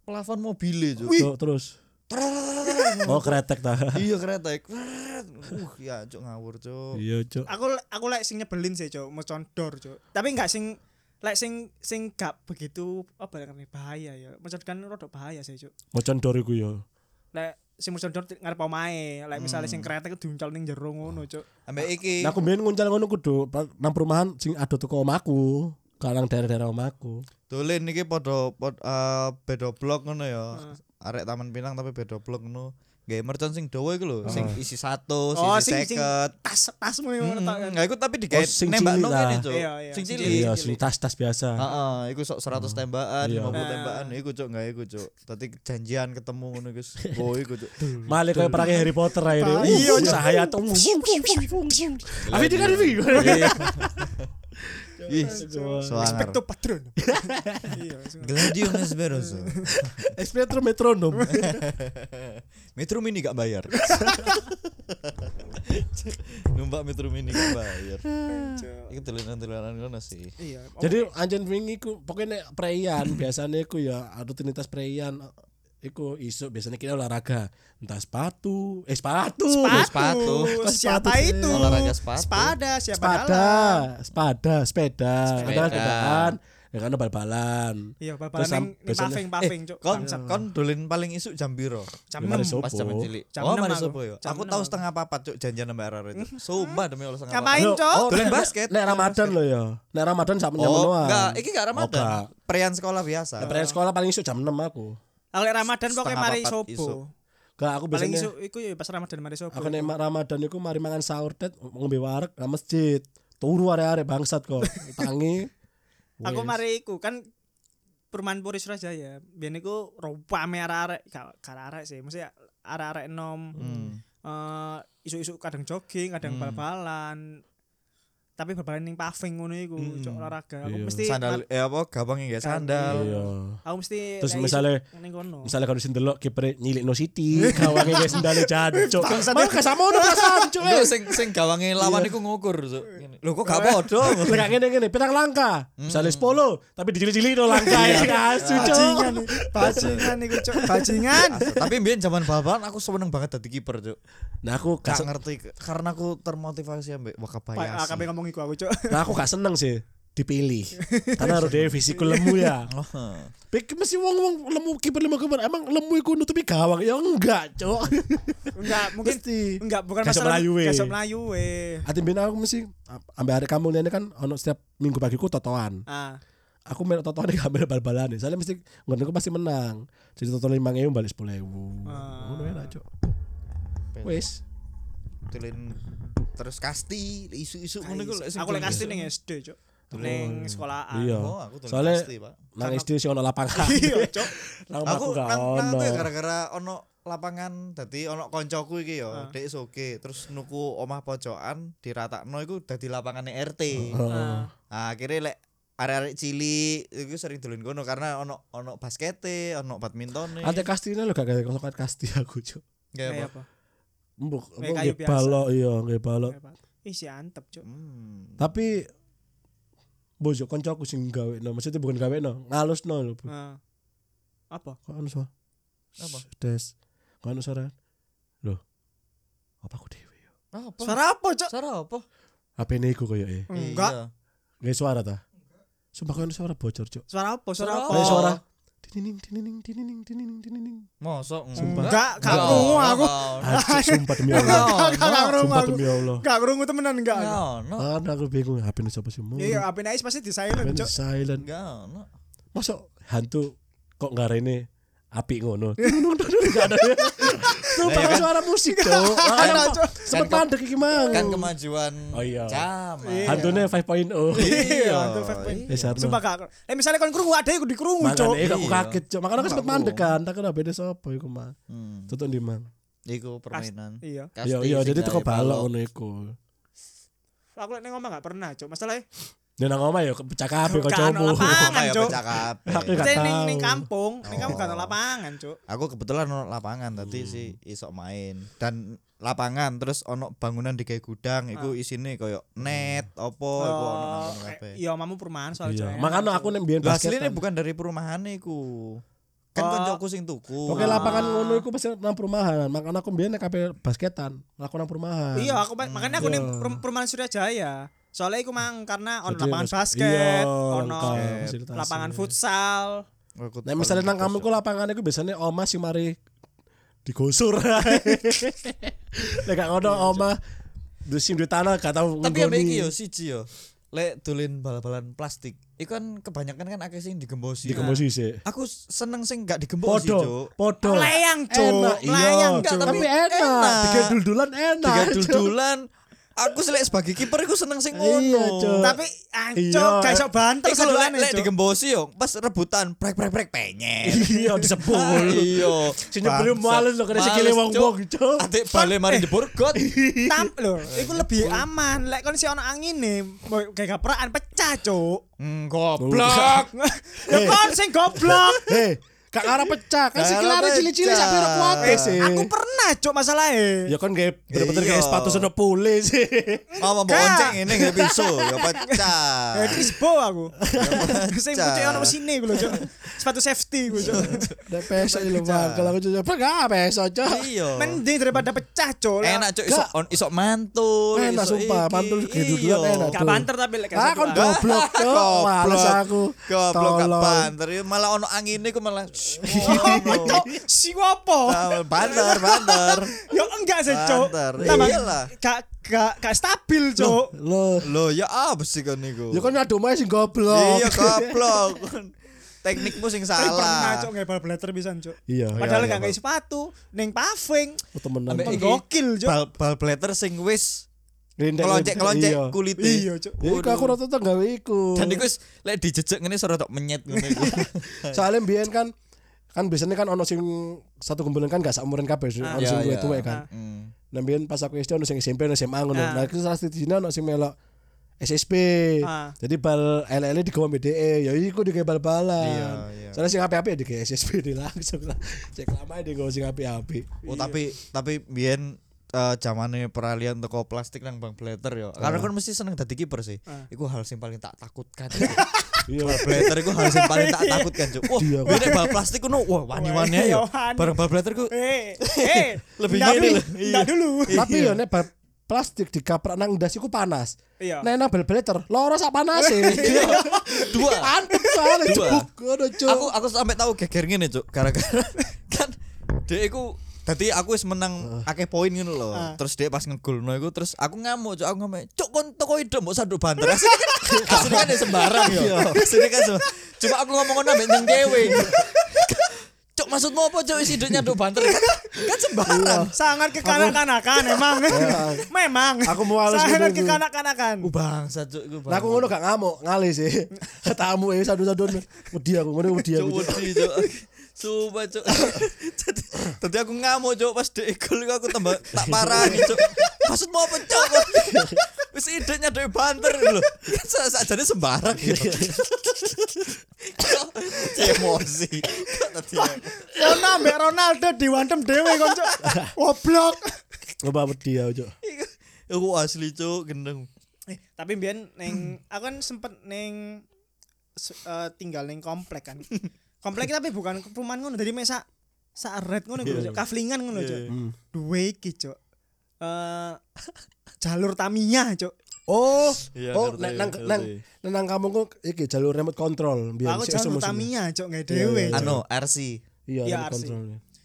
Speaker 3: plafon mobile cuk.
Speaker 2: Cuk, terus oh kretek ta
Speaker 3: Iya kereta. ik. Uh, ya cuk ngawur cuk.
Speaker 2: iya cuk
Speaker 1: Aku aku lek sing nyebelin sih cok, mocon dor cok. Tapi enggak sing lek sing sing gak begitu apa ya namanya, bahaya ya. Mocon kan rodok bahaya sih cok.
Speaker 2: mocan dor iku ya
Speaker 1: Lek sing mocon dor ngarep omahe, lek misalnya sing kretek diuncal ning jero ngono cok.
Speaker 3: Ambek iki.
Speaker 2: nah aku mbien nguncal ngono kudu pa- nang perumahan sing ada toko omaku kalang daerah-daerah omaku
Speaker 3: Dolen iki padha pod, eh, beda blok ngono ya. Arek Taman Pinang tapi beda blok ngono. Gawe mercon sing dawa iku lho, sing isi 100,
Speaker 1: Oh
Speaker 3: isi
Speaker 1: sing sing
Speaker 3: 50.
Speaker 1: tas tasmu yang ngono tak kan.
Speaker 3: Enggak iku tapi
Speaker 2: Oh,
Speaker 3: digawe
Speaker 2: sing cilik
Speaker 3: nembakno
Speaker 2: lah.
Speaker 3: ngene, Cuk.
Speaker 1: Iya, iya.
Speaker 3: Sing
Speaker 1: Sing
Speaker 3: cilik.
Speaker 2: iya sing tas-tas biasa
Speaker 3: Heeh, iku sok 100 tembakan,
Speaker 2: Iya.
Speaker 3: 50
Speaker 1: Nah.
Speaker 3: tembakan iku Cuk, enggak iku Cuk. Tadi janjian ketemu ngono guys. Oh iku Cuk.
Speaker 2: Malah kayak perangnya Harry Potter akhirnya.
Speaker 1: Pak, iya, Cuk.
Speaker 2: cahaya tuh. Tapi dia kan
Speaker 3: Iya.
Speaker 2: gitu.
Speaker 3: Ih,
Speaker 1: respect
Speaker 3: soangar.
Speaker 1: to patron. Iya. langsung.
Speaker 3: Gladium Esperoso.
Speaker 2: Espetro metronom.
Speaker 3: Metro Mini gak bayar. Numpak Metro Mini gak bayar. Iku tulisan-tulisan ngono sih.
Speaker 1: Iya.
Speaker 2: Jadi anjen wingi ku pokoknya nek preian biasanya ku ya rutinitas preian iku isuk biasanya kita olahraga entah sepatu eh sepatu
Speaker 3: sepatu.
Speaker 1: Siapa
Speaker 2: Sepatu.
Speaker 1: itu?
Speaker 3: Olahraga sepatu.
Speaker 1: Sepada, siapa
Speaker 2: sepeda
Speaker 1: dalam?
Speaker 2: sepeda sepeda
Speaker 3: Sepeda.
Speaker 2: sepeda sepedaan ya kan bal-balan
Speaker 1: Iya,
Speaker 2: Terus
Speaker 1: bal-balan ning
Speaker 2: sam- biasanya-
Speaker 1: paving paving Eh, cuk.
Speaker 3: Eh, Kon
Speaker 1: Bangsat.
Speaker 3: kon dolen paling isuk jam piro?
Speaker 1: Jam
Speaker 2: Gimana,
Speaker 1: enam.
Speaker 2: Sob?
Speaker 3: Pas
Speaker 2: Opo.
Speaker 3: zaman cilik.
Speaker 1: Jam
Speaker 3: oh,
Speaker 1: enam
Speaker 3: mari
Speaker 1: aku.
Speaker 3: sopo ya?
Speaker 1: Jam
Speaker 3: Aku
Speaker 1: enam
Speaker 3: tahu
Speaker 1: aku.
Speaker 3: setengah papat cuk janjian sama RR itu. Sumpah demi Allah setengah
Speaker 1: Ngapain
Speaker 2: Loh,
Speaker 1: cok?
Speaker 2: oh,
Speaker 3: Dolen
Speaker 2: nek-
Speaker 3: basket.
Speaker 2: nek Ramadan lo ya nek Ramadan sak menyang
Speaker 3: Oh,
Speaker 2: menoan.
Speaker 3: enggak, iki enggak
Speaker 2: Oh,
Speaker 3: Ramadan.
Speaker 2: enggak.
Speaker 3: Perian sekolah biasa.
Speaker 2: Nek perayaan Nah, sekolah paling isuk jam 6 aku
Speaker 1: Kalau Ramadan pokoknya
Speaker 3: Setengah
Speaker 1: mari
Speaker 3: papat isuk.
Speaker 1: sopo.
Speaker 2: Gak aku
Speaker 1: Paling
Speaker 2: biasanya
Speaker 1: isu iku ya pas Ramadan mari sopo.
Speaker 2: Aku nek Ramadan iku mari mangan sahur tet ngombe wareg nang masjid. Turu arek-arek bangsat kok. Tangi.
Speaker 1: Aku
Speaker 2: Wes.
Speaker 1: mari iku kan Perumahan Puri Surabaya. Biyen iku rupame arek-arek, gak gak arek sih. Mesti arek-arek enom.
Speaker 2: Hmm.
Speaker 1: Eh isu-isu kadang jogging, kadang bal-balan. Tapi bal-balan ning paving ngono iku, cok olahraga. Aku
Speaker 2: Hmm, Iya.
Speaker 1: mesti
Speaker 3: Sandal eh apa gampangnya ya sandal.
Speaker 2: Iya.
Speaker 1: aku mesti
Speaker 2: Terus
Speaker 1: lek
Speaker 2: misalnya-
Speaker 1: isuk ning kono.
Speaker 2: Misalnya kalau sing delok kiper nyilik no City, kawange guys sendale jancuk. Mau kesamono perasaan cuk.
Speaker 3: Enggak sing sing gawange lawan iku ngukur cuk. Ngene. Lho kok gak podo?
Speaker 2: Lek ngene ngene pirang langkah. Misalnya 10, tapi dicilik-cilik no langkah ya asu cuk.
Speaker 3: Iya
Speaker 1: bajingan iku, bajingan iku cok, bajingan.
Speaker 3: Tapi mbiyen zaman bal-balan aku seneng banget dadi kiper cuk.
Speaker 2: Nah aku gak
Speaker 3: Gak
Speaker 2: sen-
Speaker 3: ngerti karena aku termotivasi ambek
Speaker 1: Pak ah,
Speaker 3: Wakabayashi.
Speaker 1: kabeh ngomong iku aku cok.
Speaker 2: nah aku gak seneng sih dipilih. Karena harus dhewe fisiku lemu ya.
Speaker 3: Heeh.
Speaker 2: Pik mesti wong-wong lemu kiper lemu kiper emang lemu iku nutupi gawang ya enggak cuk.
Speaker 1: Enggak, mungkin
Speaker 2: Mesti.
Speaker 1: enggak bukan
Speaker 2: Gasok
Speaker 1: masalah
Speaker 2: Melayu, weh.
Speaker 1: gasok Melayu weh.
Speaker 2: Ati ben aku mesti ambil hari kamu ini kan ono setiap minggu pagiku totoan.
Speaker 1: Ah,
Speaker 2: Aku melu totoan gak ambil bal-balan. Soalnya mesti ngono aku pasti menang. Jadi totoan 5000 balik 10000. Ngono enak, Cuk. Wis.
Speaker 3: Tulen terus kasti, isu-isu ngono iku lek sing
Speaker 1: aku lek
Speaker 3: tulen
Speaker 1: kasih
Speaker 3: isu.
Speaker 1: ning SD cok. Ning sekolahan.
Speaker 2: Iya.
Speaker 3: Oh, aku tulen
Speaker 2: Soalnya-
Speaker 3: kasti, Pak.
Speaker 2: Nang SD sih ono lapangan.
Speaker 1: Iya cok.
Speaker 2: Nang
Speaker 3: aku
Speaker 2: aku Oh, gak
Speaker 3: nang nang
Speaker 2: ono.
Speaker 3: aku ya gara-gara ono lapangan dadi ono koncoku iki ya dek soge terus nuku omah pojokan diratakno iku dadi lapangane RT
Speaker 2: Ah. Heeh.
Speaker 3: nah, akhirnya lek arek-arek cilik iku sering dolen kono karena ono ono baskete ono badmintone
Speaker 2: Ate kastine lho gak kayak kosokan kasti aku, Cuk.
Speaker 3: Nggak
Speaker 1: Kayak
Speaker 3: apa
Speaker 1: apa?
Speaker 2: Mbok
Speaker 1: Kayak
Speaker 2: mbok
Speaker 1: kayu
Speaker 2: nggih balok iya, nggih balok.
Speaker 1: Kayak apa? Ih, si antep cok.
Speaker 3: Hmm.
Speaker 2: Tapi bojo koncoku sing gawe no, maksudnya bukan gawe no, ngalus no lho. Bu.
Speaker 1: Ah. Apa?
Speaker 2: Kok anu suara?
Speaker 3: Apa?
Speaker 2: Des. Kok anu suara? Loh. Apa aku dhewe ya?
Speaker 3: apa
Speaker 1: Suara apa cok?
Speaker 3: suara apa
Speaker 2: HP-ne iku e? koyoke.
Speaker 1: Enggak.
Speaker 3: Iya.
Speaker 2: Nggak suara ta? Sumpah kok anu suara bocor, Cuk.
Speaker 1: Suara apa? Suara
Speaker 3: Suara
Speaker 1: apa?
Speaker 2: Kayak
Speaker 3: Oh.
Speaker 2: suara. Di tinining tinining tinining tinining tinining
Speaker 3: Mosok
Speaker 1: Enggak, gak krungu aku.
Speaker 2: Aduh, sumpah demi Allah
Speaker 1: Enggak, gak krungu
Speaker 2: sumpah
Speaker 1: aku.
Speaker 2: demi Allah
Speaker 1: Gak krungu temenan enggak. aku.
Speaker 3: Enggak ono.
Speaker 2: Kan aku bingung HP ini siapa sih mau
Speaker 1: Iya, HP Ais pasti di silent,
Speaker 2: Ben
Speaker 1: Cuk.
Speaker 2: silent
Speaker 3: Enggak ono.
Speaker 2: masa hantu kok nggak ini api ngono nggak ada sumpah
Speaker 1: Eh,
Speaker 3: kan?
Speaker 2: suara musik tuh
Speaker 1: Ada, Cuk.
Speaker 2: sempet
Speaker 3: Kan-
Speaker 2: mandek iki mang
Speaker 3: Kan kemajuan
Speaker 2: Oh, iya.
Speaker 3: zaman.
Speaker 2: hantunya oh. 5.0
Speaker 1: Iya,
Speaker 3: Iya.
Speaker 1: hantu 5.0
Speaker 2: Eh, Sarno.
Speaker 1: Sumpah gak. Eh misalnya kon krungu ada iku dikrungu, Cuk.
Speaker 2: Makanya eh, aku
Speaker 3: Iya.
Speaker 2: kaget cok. Makanya aku
Speaker 3: Aku.
Speaker 2: sempet mandek kan. Tak kena beda sapa iku mah.
Speaker 3: Hmm,
Speaker 2: Tutup di mang.
Speaker 3: Iku permainan.
Speaker 1: Iya.
Speaker 2: Iya iya jadi teko balok ngono iku.
Speaker 1: Aku lek nang omah gak pernah, Cuk. Masalahnya
Speaker 2: Nek nang omah ya pecah kabeh
Speaker 1: Kan,
Speaker 2: kancamu.
Speaker 1: lapangan. Tangan,
Speaker 3: Kayak
Speaker 1: Cuk.
Speaker 3: pecah kabeh.
Speaker 2: Aku gak
Speaker 1: Maksudnya ning ning
Speaker 2: tahu.
Speaker 1: kampung, ning kampung gak ada
Speaker 3: Oh.
Speaker 1: lapangan, Cuk.
Speaker 3: Aku kebetulan ono lapangan
Speaker 2: Hmm.
Speaker 3: tadi sih isok main dan lapangan terus ono bangunan di kayak gudang iku isine koyo net
Speaker 2: Hmm.
Speaker 3: opo iku ono nang
Speaker 1: Oh,
Speaker 3: kono kabeh.
Speaker 1: eh, Iya, omamu perumahan
Speaker 2: Iya.
Speaker 1: soalnya.
Speaker 2: Makanya aku nek mbiyen kan.
Speaker 3: Lah asline
Speaker 2: basketan.
Speaker 3: bukan dari perumahan iku.
Speaker 1: Oh.
Speaker 3: Kan kancaku sing tuku.
Speaker 2: Oke lapangan ngono iku pasti nang perumahan. Makanya aku mbiyen nek kabeh basketan, aku nang perumahan.
Speaker 1: Iya, aku ma- makanya aku
Speaker 2: Iya.
Speaker 1: ning per- perumahan Surajaya. Soalnya iku mang karena ono
Speaker 2: Jadi
Speaker 1: lapangan
Speaker 2: harus-
Speaker 1: basket,
Speaker 2: iya,
Speaker 1: ono
Speaker 2: lengkap, fasilitasnya.
Speaker 1: lapangan futsal.
Speaker 3: Aku
Speaker 2: Nek misalnya nang kamu
Speaker 3: paling
Speaker 2: ku lapangan iku biasanya omah sing mari digusur. Nek gak ono omah duwe sing duwe tanah gak tau
Speaker 3: Iya, Tapi ya iki yo siji yo. Lek dolen bal-balan plastik. Iku kan kebanyakan kan akeh sing digembosi.
Speaker 2: digembosi sih.
Speaker 3: Aku seneng sing gak digembos sih,
Speaker 2: Podo,
Speaker 3: Cuk.
Speaker 2: podo.
Speaker 1: Melayang, Cuk.
Speaker 2: Enak, iya,
Speaker 1: Melayang,
Speaker 2: Cuk.
Speaker 1: Cuk.
Speaker 2: tapi,
Speaker 3: Tapi
Speaker 2: enak.
Speaker 3: enak.
Speaker 2: Tiga dul-dulan enak.
Speaker 3: Tiga
Speaker 2: Cuk.
Speaker 3: dul-dulan. Aku selek sebagai kiper aku seneng sing
Speaker 2: Iya,
Speaker 3: ngono.
Speaker 2: Cuk.
Speaker 1: Tapi
Speaker 2: Iya.
Speaker 1: anco gak iso banter
Speaker 3: Terus kalau
Speaker 1: sedulane,
Speaker 3: lek
Speaker 1: Cuk.
Speaker 3: digembosi yo pas rebutan prek prek prek pengen.
Speaker 2: Iya, disebul.
Speaker 3: Iya.
Speaker 2: Sini beli males loh, kena sikile wong-wong, Cuk. Eh.
Speaker 3: Ate bale mari jebur got.
Speaker 1: Tam lho, iku lebih aman. Lek kon si ono angine, mau kayak gaprakan pecah, Cuk.
Speaker 3: Hmm, Goblok.
Speaker 1: Ya kon sing goblok.
Speaker 2: Hei, Kak Ara Eh, pecah, kan
Speaker 3: Kak
Speaker 2: sikile
Speaker 3: Ara
Speaker 2: are cili-cili
Speaker 3: pecah.
Speaker 2: sampe ora kuat
Speaker 1: Eh,
Speaker 2: Iya sih.
Speaker 1: aku pernah, Cuk, masalahe.
Speaker 2: Ya kan gak bener-bener
Speaker 3: Iya.
Speaker 2: kayak sepatu sono pule sih.
Speaker 3: Mama mau
Speaker 1: Gak.
Speaker 3: bonceng ini nggak pisau, ya pecah.
Speaker 1: Ya krisbo aku. Sing
Speaker 3: pecah.
Speaker 1: pucuk ono mesine iku lho, Cuk. Sepatu safety iku, Cuk.
Speaker 2: Nek peso lho Bang, kalau aku coba gak peso, Cuk.
Speaker 3: Iya.
Speaker 1: Mending daripada pecah, Cuk.
Speaker 3: Enak cok isok on isok mantul.
Speaker 2: Enak,
Speaker 3: isok
Speaker 2: sumpah,
Speaker 3: iki.
Speaker 2: mantul kayak dudulan
Speaker 3: Iya.
Speaker 2: enak.
Speaker 1: Gak banter tapi lek
Speaker 2: Ah, kon goblok, Cuk. Males aku.
Speaker 3: Goblok gak
Speaker 2: Tolong. Iya,
Speaker 3: banter, iya, malah ono angine ku malah.
Speaker 1: Cuk, si opo?
Speaker 3: Ah, Banter, banter.
Speaker 1: Ya enggak sih, Cuk.
Speaker 3: Banter.
Speaker 1: Tambah-
Speaker 3: Iyalah.
Speaker 1: Gak gak gak stabil, Cuk.
Speaker 2: Loh,
Speaker 3: Loh, ya apa sih kon niku?
Speaker 2: ya kan nyadu mah sing goblok.
Speaker 3: Iya, goblok. Teknikmu sing
Speaker 1: Tapi pernah,
Speaker 3: salah.
Speaker 1: Cuk, ngebal blater pisan, Cuk.
Speaker 2: Iya,
Speaker 1: Padahal gak
Speaker 2: iya, iya,
Speaker 1: kayak sepatu, ning paving.
Speaker 3: Eh,
Speaker 2: Oh, temenan.
Speaker 3: Ambek- Iki.
Speaker 1: Gokil, Cuk.
Speaker 3: Bal bal blatter sing wis
Speaker 2: Rindek-
Speaker 3: keloncek-keloncek
Speaker 2: Iya.
Speaker 3: kulit.
Speaker 1: Iya, Cuk.
Speaker 2: Ya iku aku rata gawe iku.
Speaker 3: Dan iku wis lek dijejek ngene suara tok menyet ngene iku.
Speaker 2: Soalnya mbiyen kan kan biasanya kan ono sing satu kumpulan kan gak saumuran kabeh, ono
Speaker 3: Iya,
Speaker 2: sing
Speaker 3: iya.
Speaker 2: tuwek tuwek kan.
Speaker 3: Hmm.
Speaker 2: Nah mbiyen pas aku SD ono sing SMP ono SMA ngono.
Speaker 1: Ah.
Speaker 2: Nah iku salah sitine ono sing melok SSB.
Speaker 1: Ah.
Speaker 2: Jadi bal E LL digawa BDE, ya iku digawe bal-balan.
Speaker 3: Iya, iya.
Speaker 2: Soalnya sing api-api ya digawe SSB di langsung lah. Cek lama ya digawe sing api-api.
Speaker 3: Oh tapi tapi biyen eh, zamane peralihan teko plastik nang bang blatter yo. Karena kan mesti seneng dadi kiper sih. Iku hal sing paling tak takutkan.
Speaker 2: Iya.
Speaker 3: bal blatter iku hal sing paling tak takutkan, Cuk. Wah,
Speaker 2: Iya,
Speaker 3: biyen bal plastik kuno wah wani-wani
Speaker 1: Iya,
Speaker 3: ya.
Speaker 1: wani.
Speaker 3: Bareng bal blatter ku
Speaker 1: Eh, eh,
Speaker 3: Lebih
Speaker 1: enggak dulu,
Speaker 3: ngene loh. Iya.
Speaker 1: enggak dulu.
Speaker 2: Tapi ya nek bal plastik digaprak nang ndas iku panas.
Speaker 1: Iya.
Speaker 2: Nek nang bal beleter, loro sak panase. Iya.
Speaker 3: dua.
Speaker 2: Antep soalnya
Speaker 3: Dua.
Speaker 2: jebuk ngono, Cuk.
Speaker 3: Aku aku sampai tahu geger ngene, Cuk. Gara-gara kan dia iku Tadi aku wis menang akeh poin ngono lho. Terus dia pas ngegolno iku terus aku ngamuk, Cuk. Aku ngamuk, "Cuk, kon toko ide mbok sanduk banter." Asline kan asline kan ya sembarang yo. Asline kan sembarang. Cuma aku ngomong ngono ambek nyeng dewe. Cuk, maksudmu apa, Cuk? Wis ide nyanduk banter. Kan, kan sembarang.
Speaker 1: Sangat kekanak-kanakan emang. Memang.
Speaker 2: Aku mau halus
Speaker 1: Sangat
Speaker 2: gitu.
Speaker 1: kekanak-kanakan.
Speaker 3: Uh bangsa, Cuk. iku
Speaker 2: Nah aku
Speaker 3: bangsa.
Speaker 2: ngono gak ngamuk, ngalih sih. Ketamu eh sadu-sadun. Wedi aku ngono wedi aku.
Speaker 3: Cuk wedi cuk. Sumpah cuk. Jadi- Tadi aku ngamuk cuk pas dek gol iku aku tambah tak parani cuk. Maksudmu apa cuk? Wis idenya dek banter lho. Sa- Sajane sembarang gitu. Kok Emosi. Kok Tadi ya?
Speaker 1: Ono ambek Ronaldo diwantem dhewe kon, Cuk. Goblok.
Speaker 2: Coba wedi aku, Cuk.
Speaker 3: aku asli cuk gendeng.
Speaker 1: Eh, tapi biyen neng aku kan sempet neng se- eh, tinggal neng komplek kan. Komplek kita tapi bukan perumahan ngono, jadi mesa saret ngono yeah. Cuk. Kaflingan
Speaker 2: Hmm.
Speaker 1: ngono, Cuk. Duwe iki, Cuk. Eh jalur Tamiya, Cuk.
Speaker 2: Oh,
Speaker 3: Iya,
Speaker 2: oh,
Speaker 3: ngerti,
Speaker 2: nek nang
Speaker 3: ngerti.
Speaker 2: nang nang, nang kamu kok iki jalur remote control biar
Speaker 1: aku
Speaker 2: sik
Speaker 1: jalan
Speaker 2: esok-esok.
Speaker 1: utamia cok nggak
Speaker 2: Iya,
Speaker 1: dewe
Speaker 2: iya, iya.
Speaker 1: Cok.
Speaker 3: Anu RC.
Speaker 2: Iya,
Speaker 1: Iya,
Speaker 2: remote
Speaker 1: RC.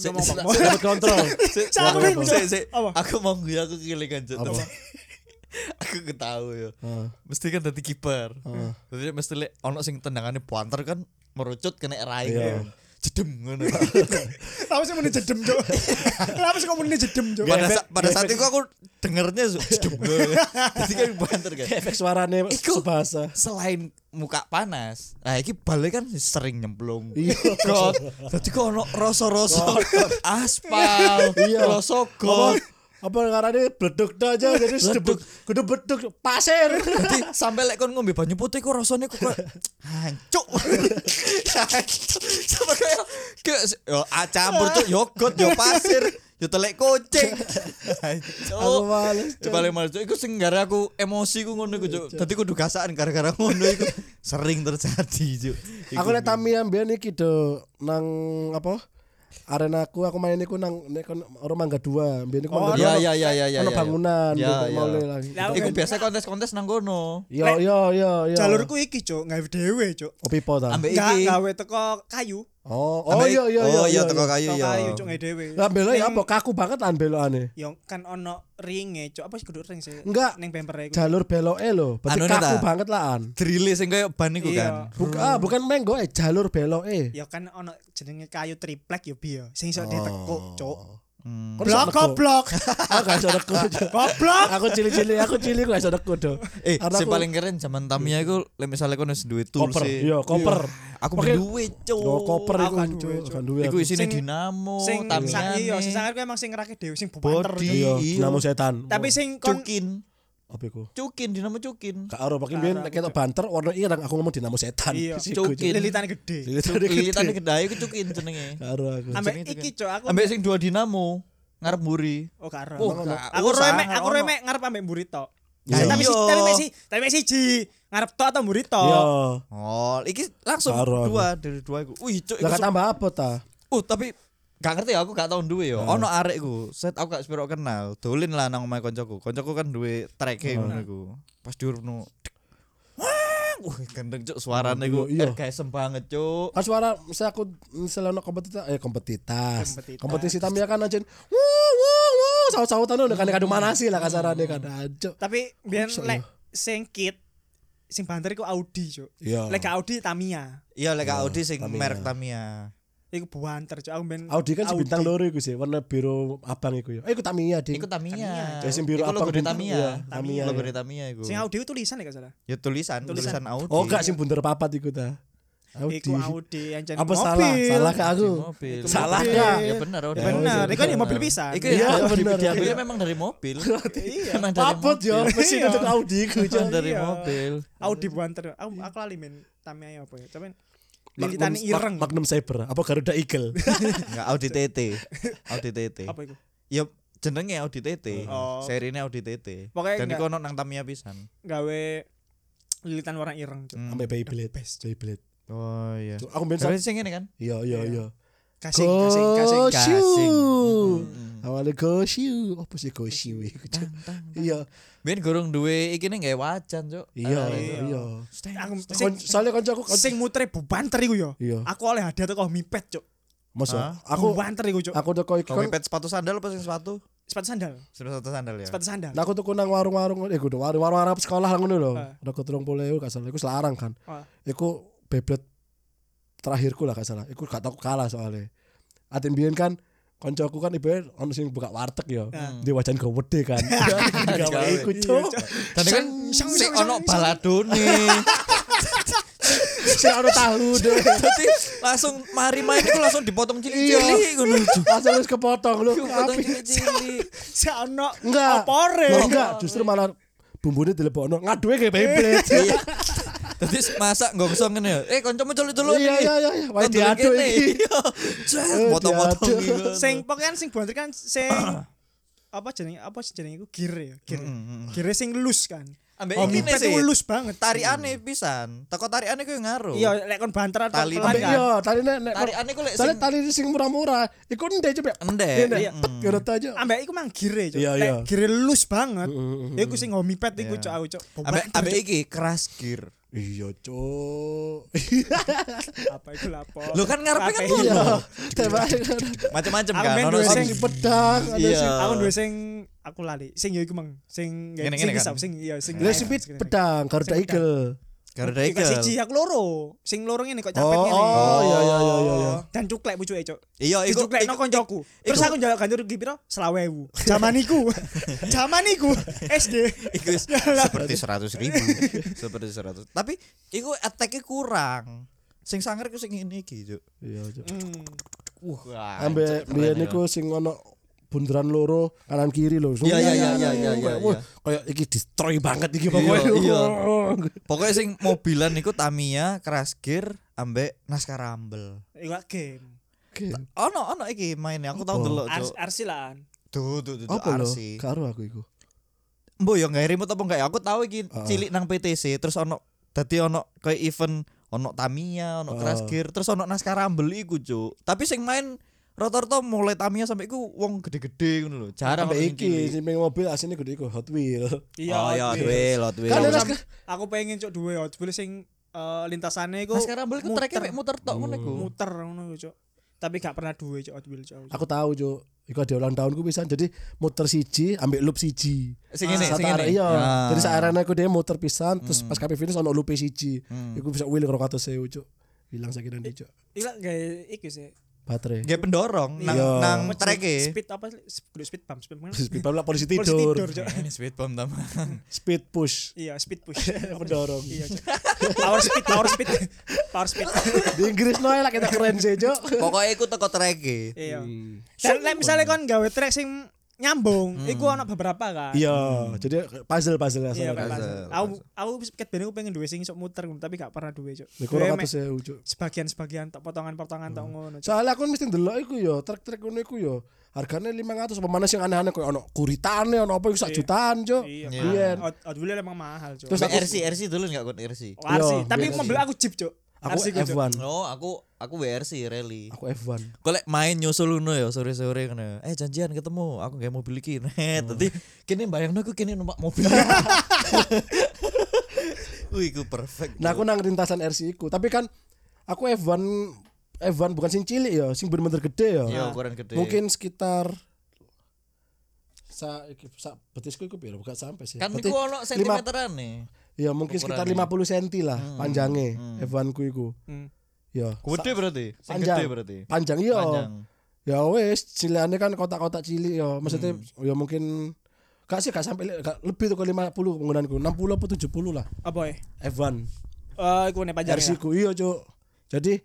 Speaker 2: control.
Speaker 1: terus sampe ngomong apa?
Speaker 3: Sik, sik,
Speaker 2: Remote control.
Speaker 3: Sik,
Speaker 1: Cak, aku
Speaker 3: sik,
Speaker 1: bingung,
Speaker 3: sik,
Speaker 1: Cok.
Speaker 3: sik.
Speaker 1: Apa?
Speaker 3: Aku mau gue aku kelingan Cok.
Speaker 2: Apa?
Speaker 3: Aku ketahu ya.
Speaker 2: Heeh.
Speaker 3: Mesti kan dadi kiper.
Speaker 2: Heeh.
Speaker 3: Jadi mesti lek ono sing tendangannya puanter kan merucut kena rai.
Speaker 2: Iya.
Speaker 3: Jedem ngono.
Speaker 1: Kenapa sih muni jedem cok Kenapa sih kamu muni jedem cok
Speaker 3: pada sa- pada saat itu aku dengernya su- jedem ngono. Jadi kan puanter kan.
Speaker 2: Efek suarane
Speaker 3: Iku.
Speaker 2: sebahasa.
Speaker 3: Selain muka panas, nah iki balik kan sering nyemplung.
Speaker 2: Iya.
Speaker 3: God. Dadi kok ono rasa-rasa aspal,
Speaker 2: Iya.
Speaker 3: rasa
Speaker 2: Apa
Speaker 3: god.
Speaker 2: apa ngarane bleduk dah aja jadi sedebuk. Kudu beduk pasir.
Speaker 3: Jadi sampai lek kon ngombe banyu putih kok rasane kok kayak hancuk. Hancuk. Sama kayak kayak se- yo ah, campur tuh yogurt yo pasir yo telek kucing.
Speaker 2: Aku
Speaker 3: Hancuk.
Speaker 2: males.
Speaker 3: Itu paling males Cuk. iku sing gara aku emosi ku ngono iku Cuk. Dadi kudu kasaan gara-gara ngono iku sering terjadi Cuk. Iku.
Speaker 2: Aku nek Tamiya mbiyen iki do nang apa? Arena aku aku main iku nang nek kon orang mangga 2, mbiyen iku
Speaker 1: Oh,
Speaker 2: mangga
Speaker 3: ya
Speaker 2: dua,
Speaker 3: ya ya ya ya.
Speaker 2: ono
Speaker 3: ya.
Speaker 2: bangunan
Speaker 3: Ya,
Speaker 2: gitu,
Speaker 3: ya.
Speaker 2: mulai lagi. Iya,
Speaker 1: Lah,
Speaker 3: Iku biasa kontes-kontes nang kono.
Speaker 2: Yo yo yo yo.
Speaker 1: jalurku iki cok nggak dewe cok
Speaker 2: opi po Oh, ta.
Speaker 3: Ambek
Speaker 1: nggak
Speaker 3: iki.
Speaker 1: gawe teko kayu
Speaker 2: Oh, oh
Speaker 3: Ambek-
Speaker 2: yo yo yo.
Speaker 3: Oh iya
Speaker 2: yo, yo.
Speaker 3: teko kayu
Speaker 1: teko
Speaker 3: ya.
Speaker 1: kayu cok nggak dewe
Speaker 2: Lah belo ya apa kaku banget an belokane.
Speaker 1: yo kan ono ringe cok apa sih kudu ring sih
Speaker 2: Enggak.
Speaker 1: ning bemper iku
Speaker 2: Jalur beloke lho, berarti
Speaker 3: Anu,
Speaker 2: kaku
Speaker 3: Neta.
Speaker 2: banget lah an.
Speaker 3: Drille sing kayak ban iku
Speaker 1: Iya.
Speaker 3: kan.
Speaker 2: Bukan ah, bukan menggo eh jalur beloke.
Speaker 1: ya kan ono jenenge kayu triplek yo biyo sing iso ditekuk cuk
Speaker 3: Hmm.
Speaker 2: Kon
Speaker 1: blok
Speaker 2: sok neko.
Speaker 1: goblok
Speaker 2: Aku Ah, gak iso neko.
Speaker 1: goblok
Speaker 2: Aku cili-cili, aku cili aku gak iso neko do.
Speaker 3: Eh,
Speaker 2: Karena
Speaker 3: sing
Speaker 2: aku-
Speaker 3: paling keren zaman Tamiya iku lek misale kono wis duwe tools
Speaker 2: Koper.
Speaker 3: e.
Speaker 2: Iya, koper.
Speaker 3: Aku
Speaker 2: Oke.
Speaker 3: duwe cuk.
Speaker 2: Oh, koper
Speaker 1: aku
Speaker 2: iku
Speaker 1: gak duwe,
Speaker 2: cuk,
Speaker 1: Cuk.
Speaker 2: kan duwe.
Speaker 3: Iku
Speaker 2: aku.
Speaker 3: isine
Speaker 1: Sing-
Speaker 3: dinamo,
Speaker 1: sing sang
Speaker 3: Tamiya.
Speaker 1: iya sing sangar ku emang sing ngerake dhewe sing bubanter Cuk.
Speaker 3: Body.
Speaker 2: Iya,
Speaker 3: Iya.
Speaker 2: dinamo setan.
Speaker 1: tapi sing kon
Speaker 3: cukin.
Speaker 2: apa iku?
Speaker 3: Cukin dinamo cukin.
Speaker 2: Gak aro makin biyen ketok banter warna ireng aku ngomong dinamo setan.
Speaker 1: Iya.
Speaker 2: Siku, Cuk.
Speaker 3: Cukin.
Speaker 1: lilitan gede
Speaker 3: Lilitan kedai iku cukin jenenge.
Speaker 2: Gak aro aku.
Speaker 1: ambek
Speaker 3: Jenenge
Speaker 1: iki cok aku
Speaker 3: Ambek sing dua dinamo ngarep mburi.
Speaker 1: oh karo
Speaker 3: Oh, gak-
Speaker 1: aku
Speaker 3: oh,
Speaker 1: roe
Speaker 3: sangar
Speaker 1: mek aku
Speaker 3: ono.
Speaker 1: roe mek ngarep ambek mburi tok
Speaker 2: Iya.
Speaker 1: tapi si- tapi
Speaker 3: Iya.
Speaker 1: mek si tapi mek siji ngarep tok atau mburi
Speaker 2: Iya.
Speaker 1: tok
Speaker 3: Oh, iki langsung
Speaker 2: Karo aku.
Speaker 3: dua dari dua iku. Wih, cuk
Speaker 2: Lah
Speaker 3: iku
Speaker 2: tambah apa ta?
Speaker 3: Oh tapi gak ngerti ya, aku gak tau duwe yo. Ono arek ku, set aku gak sepiro kenal. Dolin lah nang omahe koncoku. Koncoku kan duwe treke ngono iku. Pas diurno. Wah, gendeng cuk suarane iku.
Speaker 2: Iya, iya.
Speaker 3: Ergasem banget cuk.
Speaker 2: Kan suara misalnya aku misalnya ono kompetitas eh kompetitas.
Speaker 1: Kompetitas.
Speaker 2: Kompetisi Tamiya kan anjen. Wuh wuh wuh saut-sautan udah kan kadung mana sih lah kasarane kan aja.
Speaker 1: tapi biyen
Speaker 2: bisa
Speaker 1: lek sing kit sing banter iku Audi cok
Speaker 2: Iya.
Speaker 1: lek gak Audi Tamiya
Speaker 3: Iya lek Audi sing
Speaker 2: Tamiya.
Speaker 3: merek Tamiya.
Speaker 1: iku banter cok aku ben
Speaker 2: Audi kan si bintang loro iku sih, warna biru abang iku ya. Eh iku Tamiya, Ding.
Speaker 3: Iku Tamiya.
Speaker 2: Ya, sing biru
Speaker 3: Iku logo
Speaker 2: abang
Speaker 3: de
Speaker 2: bintang, iya,
Speaker 3: Tamiya.
Speaker 2: Tamiya,
Speaker 3: Logo
Speaker 2: iya.
Speaker 3: de Tamiya iku.
Speaker 1: sing Audi itu tulisan ya gak salah
Speaker 3: Ya tulisan,
Speaker 1: Tulisan.
Speaker 3: tulisan Audi.
Speaker 2: Oh gak sing bunder papat iku ta.
Speaker 1: iku Audi yang jeneng
Speaker 2: Apa
Speaker 1: mobil
Speaker 2: salah? Salah ke aku?
Speaker 3: Di mobil.
Speaker 2: Salah
Speaker 1: mobil.
Speaker 2: kah?
Speaker 3: Ya bener, Audi.
Speaker 1: Ya bener,
Speaker 2: iya,
Speaker 1: iku kan ya mobil pisan
Speaker 3: Iku
Speaker 2: Iya,
Speaker 3: ya
Speaker 2: bener.
Speaker 3: diambilnya memang dari mobil.
Speaker 1: Iya.
Speaker 3: Memang dari
Speaker 2: Papat ya,
Speaker 3: mobil.
Speaker 2: mesin
Speaker 1: Iya.
Speaker 2: untuk Audi iku.
Speaker 3: Memang dari
Speaker 1: Iya.
Speaker 3: mobil.
Speaker 1: Audi banter aku aku lali men Tamiya apa ya cuman
Speaker 2: Magnum-
Speaker 1: lilitane ireng
Speaker 2: Magnum Cyber, apa Garuda Eagle?
Speaker 3: Enggak Audi TT. Audi TT.
Speaker 1: apa iku
Speaker 3: Ya jenenge Audi TT.
Speaker 1: Oh.
Speaker 3: Serine Audi TT.
Speaker 1: Pokoknya
Speaker 3: Dan
Speaker 1: enggak-
Speaker 3: iku ono nang Tamiya pisan.
Speaker 1: gawe lilitan warna ireng cok
Speaker 3: Hmm.
Speaker 2: Sampai Beyblade. Beyblade.
Speaker 3: Oh iya.
Speaker 2: Aku main
Speaker 3: Dari sing ngene kan.
Speaker 2: Iya iya iya.
Speaker 1: kasing kasing kasing
Speaker 2: Go
Speaker 3: kasing.
Speaker 2: Shiu.
Speaker 3: Mm.
Speaker 2: Awalnya go Shiu. Apa sih go Shiu iku, Cuk? Iya
Speaker 3: Ben gorong duwe iki ning gawe wajan, Cuk.
Speaker 2: iya
Speaker 3: Eh,
Speaker 2: iya.
Speaker 1: aku sing
Speaker 2: Kon- Soalnya kanca aku
Speaker 1: sing mutere bubanter iku yo
Speaker 2: Iya.
Speaker 1: aku oleh hadiah teko mipet cok
Speaker 2: Masa?
Speaker 3: Hah?
Speaker 2: Aku
Speaker 1: bubanter iku cok
Speaker 2: aku teko iki
Speaker 3: Kau
Speaker 2: kan.
Speaker 3: mepet sepatu sandal apa sing sepatu?
Speaker 1: sepatu sandal
Speaker 3: Sepatu sandal ya.
Speaker 1: sepatu sandal
Speaker 2: Nah, aku tuku nang warung-warung eh kudu warung-warung Arab sekolah lah ngono lho.
Speaker 1: Ah.
Speaker 2: Udah kuturung puluh ewu gak salah iku selarang kan.
Speaker 1: Oh.
Speaker 2: Iku beblet terakhirku lah gak salah. Iku gak tau aku kalah soalnya. Atin biyen kan koncoku kan ibarat ono sing buka warteg ya.
Speaker 1: Ah.
Speaker 2: Di wajan go wedi kan. Gawe iku cuk.
Speaker 3: Dan kan
Speaker 1: Sang-
Speaker 3: sing
Speaker 1: sang-
Speaker 3: ono
Speaker 1: sang-
Speaker 3: baladone.
Speaker 2: Sing ono tahu deh.
Speaker 3: Dadi langsung mari main iku langsung dipotong cilik-cilik
Speaker 2: Iya.
Speaker 3: ngono.
Speaker 2: Langsung wis kepotong lho.
Speaker 3: Dipotong
Speaker 2: Api.
Speaker 3: cilik-cilik.
Speaker 1: Sakno
Speaker 2: Enggak.
Speaker 1: opore.
Speaker 2: Loh, enggak, justru malah bumbunya dilebokno. Ngaduhe kayak Beyblade.
Speaker 3: Iya. Dadi masak enggak usah ngene ya. Eh kancamu celup-celup
Speaker 2: Iya
Speaker 3: iki.
Speaker 2: iya iya, iya. Wae
Speaker 3: Kan
Speaker 2: diaduk
Speaker 3: dulu kene.
Speaker 2: iki.
Speaker 3: Iya. Cet,
Speaker 1: Oh,
Speaker 3: Motong-motong
Speaker 2: diaduk.
Speaker 3: gitu.
Speaker 1: sing pokoknya sing buanter kan sing apa jenenge apa jenenge iku gire ya gire. Gire sing lus kan.
Speaker 2: Eh,
Speaker 3: Ambek
Speaker 1: Oh,
Speaker 3: iki
Speaker 1: mipet
Speaker 3: sih.
Speaker 1: ulus banget.
Speaker 3: Tarikane pisan. Teko tarikane ku yang ngaruh.
Speaker 1: Iya, lek kon banter atau
Speaker 3: Tali-
Speaker 1: pelan
Speaker 2: Ambek
Speaker 1: kan.
Speaker 2: iya, tadi nek nek
Speaker 3: Tarikane ku lek
Speaker 2: tadi
Speaker 3: sing
Speaker 2: tadi sing murah-murah, iku ndek coba.
Speaker 3: Ndek,
Speaker 2: Ini,
Speaker 1: iya.
Speaker 2: kira tuh aja.
Speaker 1: Ambek iku mang gire, Cuk.
Speaker 2: Iya,
Speaker 1: Lek
Speaker 2: iya.
Speaker 1: gire lus banget. ya Iku sing homipet iku
Speaker 3: Iya.
Speaker 1: Cuk, aku Cuk.
Speaker 3: ambek
Speaker 1: Beban,
Speaker 3: ambek
Speaker 1: Cuk.
Speaker 3: iki keras gear.
Speaker 2: Iya, cuk.
Speaker 1: apa iku lapo?
Speaker 3: Lo kan ngarepe kan
Speaker 1: Kabeh.
Speaker 3: ngono.
Speaker 1: Iya.
Speaker 2: Tembak.
Speaker 3: Macam-macam
Speaker 1: Aku
Speaker 3: kan.
Speaker 1: main
Speaker 3: Ono
Speaker 1: dua
Speaker 2: Ada
Speaker 3: sing
Speaker 1: sing-
Speaker 2: si pedang, ada
Speaker 3: Iya.
Speaker 2: si
Speaker 1: Aku duwe sing aku lali. Sing ya iku mang, sing ya,
Speaker 3: Ngene-ngene
Speaker 1: sing
Speaker 3: kan?
Speaker 1: isap sing iya sing.
Speaker 2: Ada si pit- pedang, Garuda
Speaker 1: Sing pedang.
Speaker 2: Eagle.
Speaker 3: Garuda
Speaker 1: Iku
Speaker 3: Eagle.
Speaker 1: siji ya? aku loro. Sing loro ngene kok capek
Speaker 2: Oh,
Speaker 1: ngene.
Speaker 2: oh, iya iya iya iya. iya.
Speaker 1: Dan cuklek pucuke, Cuk.
Speaker 3: Iya, iku
Speaker 1: Dicuklekno
Speaker 3: iku-
Speaker 1: koncoku. Terus
Speaker 3: iku-
Speaker 1: aku njaluk ganti rugi piro? 20.000. Zaman iku. Zaman iku SD.
Speaker 3: iku wis seperti seratus ribu seperti seratus tapi iku attack kurang sing sangar ku sing ini gitu
Speaker 2: Iya, cuk.
Speaker 1: Hmm.
Speaker 3: wah
Speaker 2: Ambek biyen niku sing ono bundaran loro kanan kiri lho.
Speaker 3: iya. Iya, iya, iya, iya, iya, iya,
Speaker 2: Wah,
Speaker 3: iya.
Speaker 2: Kayak iki destroy banget iki pokoknya.
Speaker 3: iya. pokoknya sing mobilan niku Tamiya keras gear ambek Naskah Rumble
Speaker 1: Iku game.
Speaker 2: Oke.
Speaker 3: ono ono iki mainnya aku tau
Speaker 2: Apa?
Speaker 3: delok
Speaker 1: Ars
Speaker 3: cuk
Speaker 1: arsilan.
Speaker 3: tuh tuh tuh
Speaker 2: Apa lho?
Speaker 3: RC
Speaker 2: Karo aku iku.
Speaker 3: Mbok ya nggak remote apa enggak ya? Aku tahu iki
Speaker 2: Heeh.
Speaker 3: cilik nang PTC terus ono dadi ono kayak event ono Tamiya, ono
Speaker 2: Heeh.
Speaker 3: Crash Gear, terus ono Naskah Rumble iku, Cuk. Tapi sing main rata-rata mulai Tamiya sampai iku wong gede-gede ngono lho. Jarang
Speaker 2: Ambek
Speaker 3: ono sing
Speaker 2: iki
Speaker 3: cilik.
Speaker 2: sing pengen mobil asine gede iku Hot Wheel.
Speaker 3: Oh iya, duwe, lot duwe.
Speaker 2: Kan
Speaker 1: Aku
Speaker 2: ada
Speaker 1: sam- aku pengen cok duwe Hot Wheels sing eh, lintasane iku
Speaker 3: Naskah Rumble ku trek
Speaker 1: muter,
Speaker 3: muter tok ngono iku.
Speaker 1: muter ngono iku, cok. Tapi gak pernah duwe cok Hot Wheels cok. aku, Cok.
Speaker 2: Aku tahu, Cuk. Iku ada ulang tahunku pisan. Jadi muter siji ambek loop siji.
Speaker 3: Sing ini,
Speaker 2: Satu
Speaker 3: sing
Speaker 2: arah,
Speaker 3: ini.
Speaker 2: iya.
Speaker 3: Ah. Hmm.
Speaker 2: Jadi saarane aku dhewe muter pisan terus pas kabeh finish ono loop siji. Iku bisa wheel 200.000, Cuk. Hilang sakitan iki, Cuk.
Speaker 1: Iku lah gawe iki sih.
Speaker 2: Baterai.
Speaker 3: Nggih pendorong nang
Speaker 2: Iya.
Speaker 3: nang
Speaker 1: Apa
Speaker 3: trek
Speaker 1: jeneng?
Speaker 3: e.
Speaker 1: Speed apa sih? Speed speed bump, speed bump.
Speaker 2: Speed bump lah polisi
Speaker 1: Polisi
Speaker 2: tidur.
Speaker 1: Cok.
Speaker 3: Ini speed bomb tambahan.
Speaker 2: Speed push.
Speaker 1: Iya, speed push.
Speaker 2: Pendorong.
Speaker 1: Iya, Cok. Power speed, power speed. Power speed.
Speaker 2: Di Inggris noe lah kita keren sih, Cok.
Speaker 3: Pokoknya iku teko trek e.
Speaker 1: Iya. Dan like, misalnya kon gawe track sing nyambung, iku ono beberapa kan.
Speaker 2: Hmm. Iya, jadi puzzle-puzzle lah.
Speaker 1: Iya,
Speaker 2: soalnya.
Speaker 1: kan.
Speaker 3: Hmm. Puzzle,
Speaker 1: Aku aku ket ben aku pengen duwe sing sok muter tapi gak pernah duwe, Cok.
Speaker 2: Iku
Speaker 1: Duwe
Speaker 2: ora
Speaker 1: meh-
Speaker 2: katus Hmm. ya, Cuk.
Speaker 1: sebagian-sebagian tak potongan-potongan tak ngono. Cok.
Speaker 2: Soalnya aku kan mesti ndelok iku yo, trek-trek ngono iku ya. yo. Harganya 500 apa mana sih yang aneh-aneh koyo ono kuritane ono apa iku sak
Speaker 1: Iya.
Speaker 2: jutaan, Cuk.
Speaker 1: Iya.
Speaker 3: Iya.
Speaker 1: mahal. Out- Outwheel emang mahal, Cok.
Speaker 2: Terus
Speaker 3: Terus
Speaker 2: aku-
Speaker 3: RC RC dulu enggak kon RC.
Speaker 1: Oh, RC,
Speaker 2: Iya,
Speaker 1: tapi
Speaker 2: iya,
Speaker 1: mobil
Speaker 2: iya.
Speaker 1: aku Jeep, Cok.
Speaker 2: Aku
Speaker 3: ya,
Speaker 1: RC ku, Cok.
Speaker 2: F1.
Speaker 3: No, Oh, aku aku WRC rally.
Speaker 2: Aku F1.
Speaker 3: Golek main nyusul ngono ya sore-sore kena. Eh janjian ketemu, aku gak mobil iki. Net, dadi kene bayangno aku kene numpak mobil. Wih, iku perfect.
Speaker 2: Nah, aku nang rintasan RC iku, tapi kan aku F1 F1 bukan sing cilik ya, sing bener-bener gede ya.
Speaker 3: ya ukuran gede.
Speaker 2: Mungkin sekitar sa, iki- sa betisku iku piro? Bukan sampai sih.
Speaker 3: kan
Speaker 2: Berarti
Speaker 3: niku
Speaker 2: lima-
Speaker 3: ono sentimeteran nih.
Speaker 2: Ya mungkin sekitar 50 cm lah
Speaker 3: Hmm.
Speaker 2: panjangnya F1 ku iku.
Speaker 1: Hmm.
Speaker 2: Ya.
Speaker 3: Gede berarti. Sing
Speaker 2: Panjang.
Speaker 3: gede berarti.
Speaker 2: Panjang iya.
Speaker 3: Panjang.
Speaker 2: Ya wes, ciliannya kan kotak-kotak cilik ya. Maksudnya
Speaker 3: Hmm.
Speaker 2: ya mungkin gak sih gak sampai li- gak lebih tuh ke 50 penggunaanku. 60 atau 70 lah
Speaker 1: Apa ya?
Speaker 2: F1.
Speaker 1: Eh, iku nek panjang.
Speaker 2: RC ku iya, Cuk. Jadi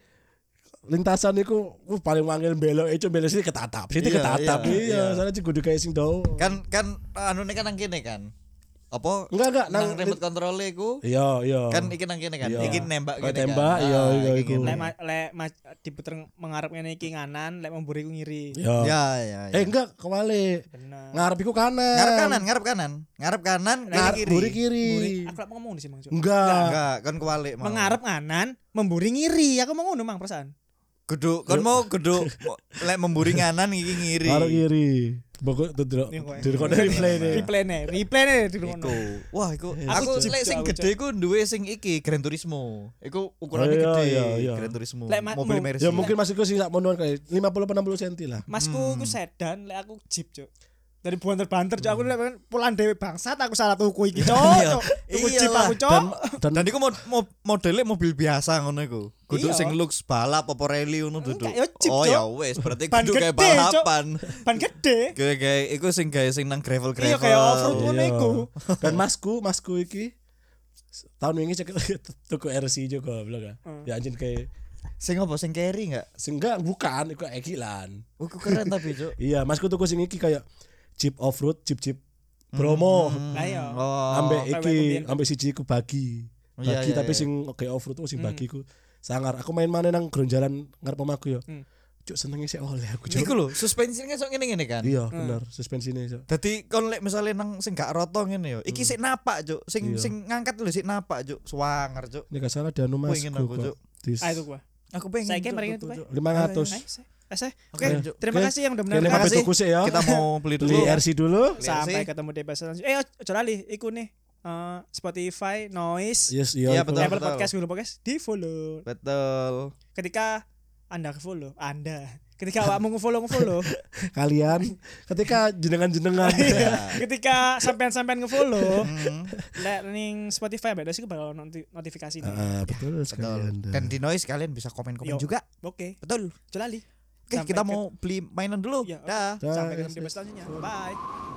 Speaker 2: lintasan iku uh, paling wangil belok itu belok sini ketatap. Sini
Speaker 3: Iya,
Speaker 2: ketatap.
Speaker 3: iya, iya.
Speaker 2: Iya, soalnya juga kayak sing dawa.
Speaker 3: Kan kan anu kan nang kene kan. Apa
Speaker 2: Enggak enggak
Speaker 3: nang
Speaker 2: nang
Speaker 3: remote control iku
Speaker 2: Iya, iya.
Speaker 3: kan iki nang kene kan.
Speaker 2: Oh. Iya.
Speaker 3: Iki nembak
Speaker 2: Kan
Speaker 3: kene kan.
Speaker 2: tembak, iya,
Speaker 3: Ah,
Speaker 2: iya,
Speaker 3: iki
Speaker 2: iku.
Speaker 3: ngene.
Speaker 1: Lek ma- lek ma- diputer mengarep ngene iki nganan, lek memburi ku ngiri.
Speaker 2: Iya.
Speaker 3: Ya ya. ya.
Speaker 2: Eh enggak kebalik.
Speaker 1: Bener.
Speaker 2: Ngarep iku kanan.
Speaker 3: Iya. Ngarep kanan, ngarep kanan. Ngarep kanan,
Speaker 2: Ngarep
Speaker 3: kiri.
Speaker 2: buri kiri.
Speaker 1: Memburi. Aku lek mau ngomong di sini,
Speaker 2: Hmm.
Speaker 1: Mang, Cok.
Speaker 2: Enggak.
Speaker 3: Enggak, kan kewalik mau.
Speaker 1: Mengarep nganan, memburi ngiri. Aku mau ngono, Mang, perasaan.
Speaker 3: Geduk, kon mau geduk mo- lek memburi nganan iki ngiri.
Speaker 2: Karo kiri. Bokok tuh dulu.
Speaker 1: Iya, kok.
Speaker 2: Dulu kok dari play deh.
Speaker 1: Replay-ne, replay-ne di ngono.
Speaker 3: Iku. Wah, iku
Speaker 1: Aku
Speaker 3: aku
Speaker 1: jijik,
Speaker 3: lek sing
Speaker 1: aku
Speaker 3: gede iku duwe sing iki Gran Turismo. Iku
Speaker 2: Oh,
Speaker 3: ukurannya
Speaker 2: Iya,
Speaker 3: gede,
Speaker 2: iya, iya.
Speaker 3: Gran Turismo.
Speaker 1: Lek ma-
Speaker 3: Mobil
Speaker 1: mau-
Speaker 3: Mercy.
Speaker 2: Ya mungkin maksudku sih sak monoan kayak 50 atau 60 cm lah.
Speaker 1: Masku ku sedan, lek aku jeep, Cuk. Dari banter-banter, Cuk. Aku lek pengen pulan dhewe bangsat aku salah tuku iki, Cuk.
Speaker 3: Iya.
Speaker 1: Cuk. Tuku
Speaker 3: Iyalah.
Speaker 1: jeep aku, Cuk.
Speaker 2: Dan
Speaker 3: Dan
Speaker 2: dan
Speaker 3: iku mo- mo- modelnya mobil biasa ngono iku. Geduk
Speaker 1: Iya.
Speaker 3: sing lux balap apa rally ngono duduk.
Speaker 1: Enggak, ya jeep,
Speaker 3: Oh
Speaker 1: Cok.
Speaker 3: ya wes, berarti
Speaker 1: Ban
Speaker 3: geduk kayak
Speaker 1: gede, Cok.
Speaker 3: balapan.
Speaker 1: Ban gede.
Speaker 3: Kayak iku sing gawe sing nang gravel-gravel.
Speaker 1: Iya kayak off-road
Speaker 2: Iya.
Speaker 1: ngono iku.
Speaker 2: dan masku, masku iki tahun ini cek tuku RC juga goblok ya. Ya anjing kayak
Speaker 3: Sing apa sing carry enggak?
Speaker 2: sing enggak bukan iku ekilan.
Speaker 3: Oh, iku keren tapi, Cuk.
Speaker 2: Iya, masku tuku sing iki kayak jeep off road, jeep jeep Bromo
Speaker 1: Lah iya.
Speaker 3: Oh.
Speaker 2: ambek
Speaker 1: kayak
Speaker 2: iki
Speaker 1: kemudian.
Speaker 2: ambek siji ku bagi.
Speaker 3: Oh, iya,
Speaker 2: Bagi
Speaker 3: iya,
Speaker 2: tapi
Speaker 3: iya.
Speaker 1: Hmm.
Speaker 2: sing oke off road ku sing bagi ku sangar. Aku main mana nang ground jalan ngarep omahku yo.
Speaker 1: Hmm.
Speaker 2: cuk senengnya sih oleh aku cuk
Speaker 3: Iku lho, suspensinya sok ngene-ngene kan.
Speaker 2: iya
Speaker 1: Hmm.
Speaker 2: benar suspensinya cuk
Speaker 3: Dadi kon lek misale nang sing gak roto ngene yo.
Speaker 1: Hmm.
Speaker 3: Iki sik napak, Cuk. Sing
Speaker 2: Iya.
Speaker 3: sing ngangkat lho sik napak, Cuk. Swanger, Cuk.
Speaker 2: ini gak salah Danu mas
Speaker 3: Pengen aku, Cuk.
Speaker 1: Ah itu gua.
Speaker 3: Aku pengen.
Speaker 1: Saya
Speaker 3: Cuk,
Speaker 1: kira mereka
Speaker 3: tuku,
Speaker 1: itu, Pak.
Speaker 3: Cuk.
Speaker 2: lima ratus
Speaker 1: Eh, saya- eh, saya.
Speaker 3: Oke,
Speaker 1: Oke,
Speaker 3: Cuk.
Speaker 1: terima
Speaker 2: Oke.
Speaker 1: kasih yang udah
Speaker 2: ini
Speaker 1: menonton.
Speaker 3: Terima
Speaker 2: HP
Speaker 3: kasih.
Speaker 2: tuku sih ya
Speaker 3: Kita mau beli dulu.
Speaker 2: beli
Speaker 1: Iya.
Speaker 2: RC dulu
Speaker 3: Beli
Speaker 1: Sampai
Speaker 3: RC.
Speaker 1: ketemu di episode selanjutnya. Eh, ojo lali, iku nih. eh, Spotify, Noise,
Speaker 2: yes iya
Speaker 3: Iya,
Speaker 2: itu.
Speaker 3: betul.
Speaker 1: Apple Podcast, Google Podcast, di follow.
Speaker 3: Betul.
Speaker 1: Ketika Anda follow, Anda. Ketika awakmu nge-follow nge-follow.
Speaker 2: kalian ketika jenengan-jenengan
Speaker 1: Iya. Ketika sampean-sampean nge-follow,
Speaker 3: Hmm,
Speaker 1: lek ning Spotify beda sih bakal noti- notifikasi. nih.
Speaker 2: Ah, betul sekali
Speaker 3: betul.
Speaker 2: Anda.
Speaker 3: Dan di noise kalian bisa komen-komen
Speaker 1: Yo.
Speaker 3: juga.
Speaker 1: Oke,
Speaker 3: Betul.
Speaker 1: ojo lali.
Speaker 3: Oke,
Speaker 1: Sampai
Speaker 3: kita
Speaker 1: ket-
Speaker 3: mau beli mainan dulu.
Speaker 1: Ya, oke.
Speaker 3: Dah.
Speaker 2: Dah,
Speaker 1: Sampai ketemu
Speaker 2: yes,
Speaker 1: di episode selanjutnya. Bye.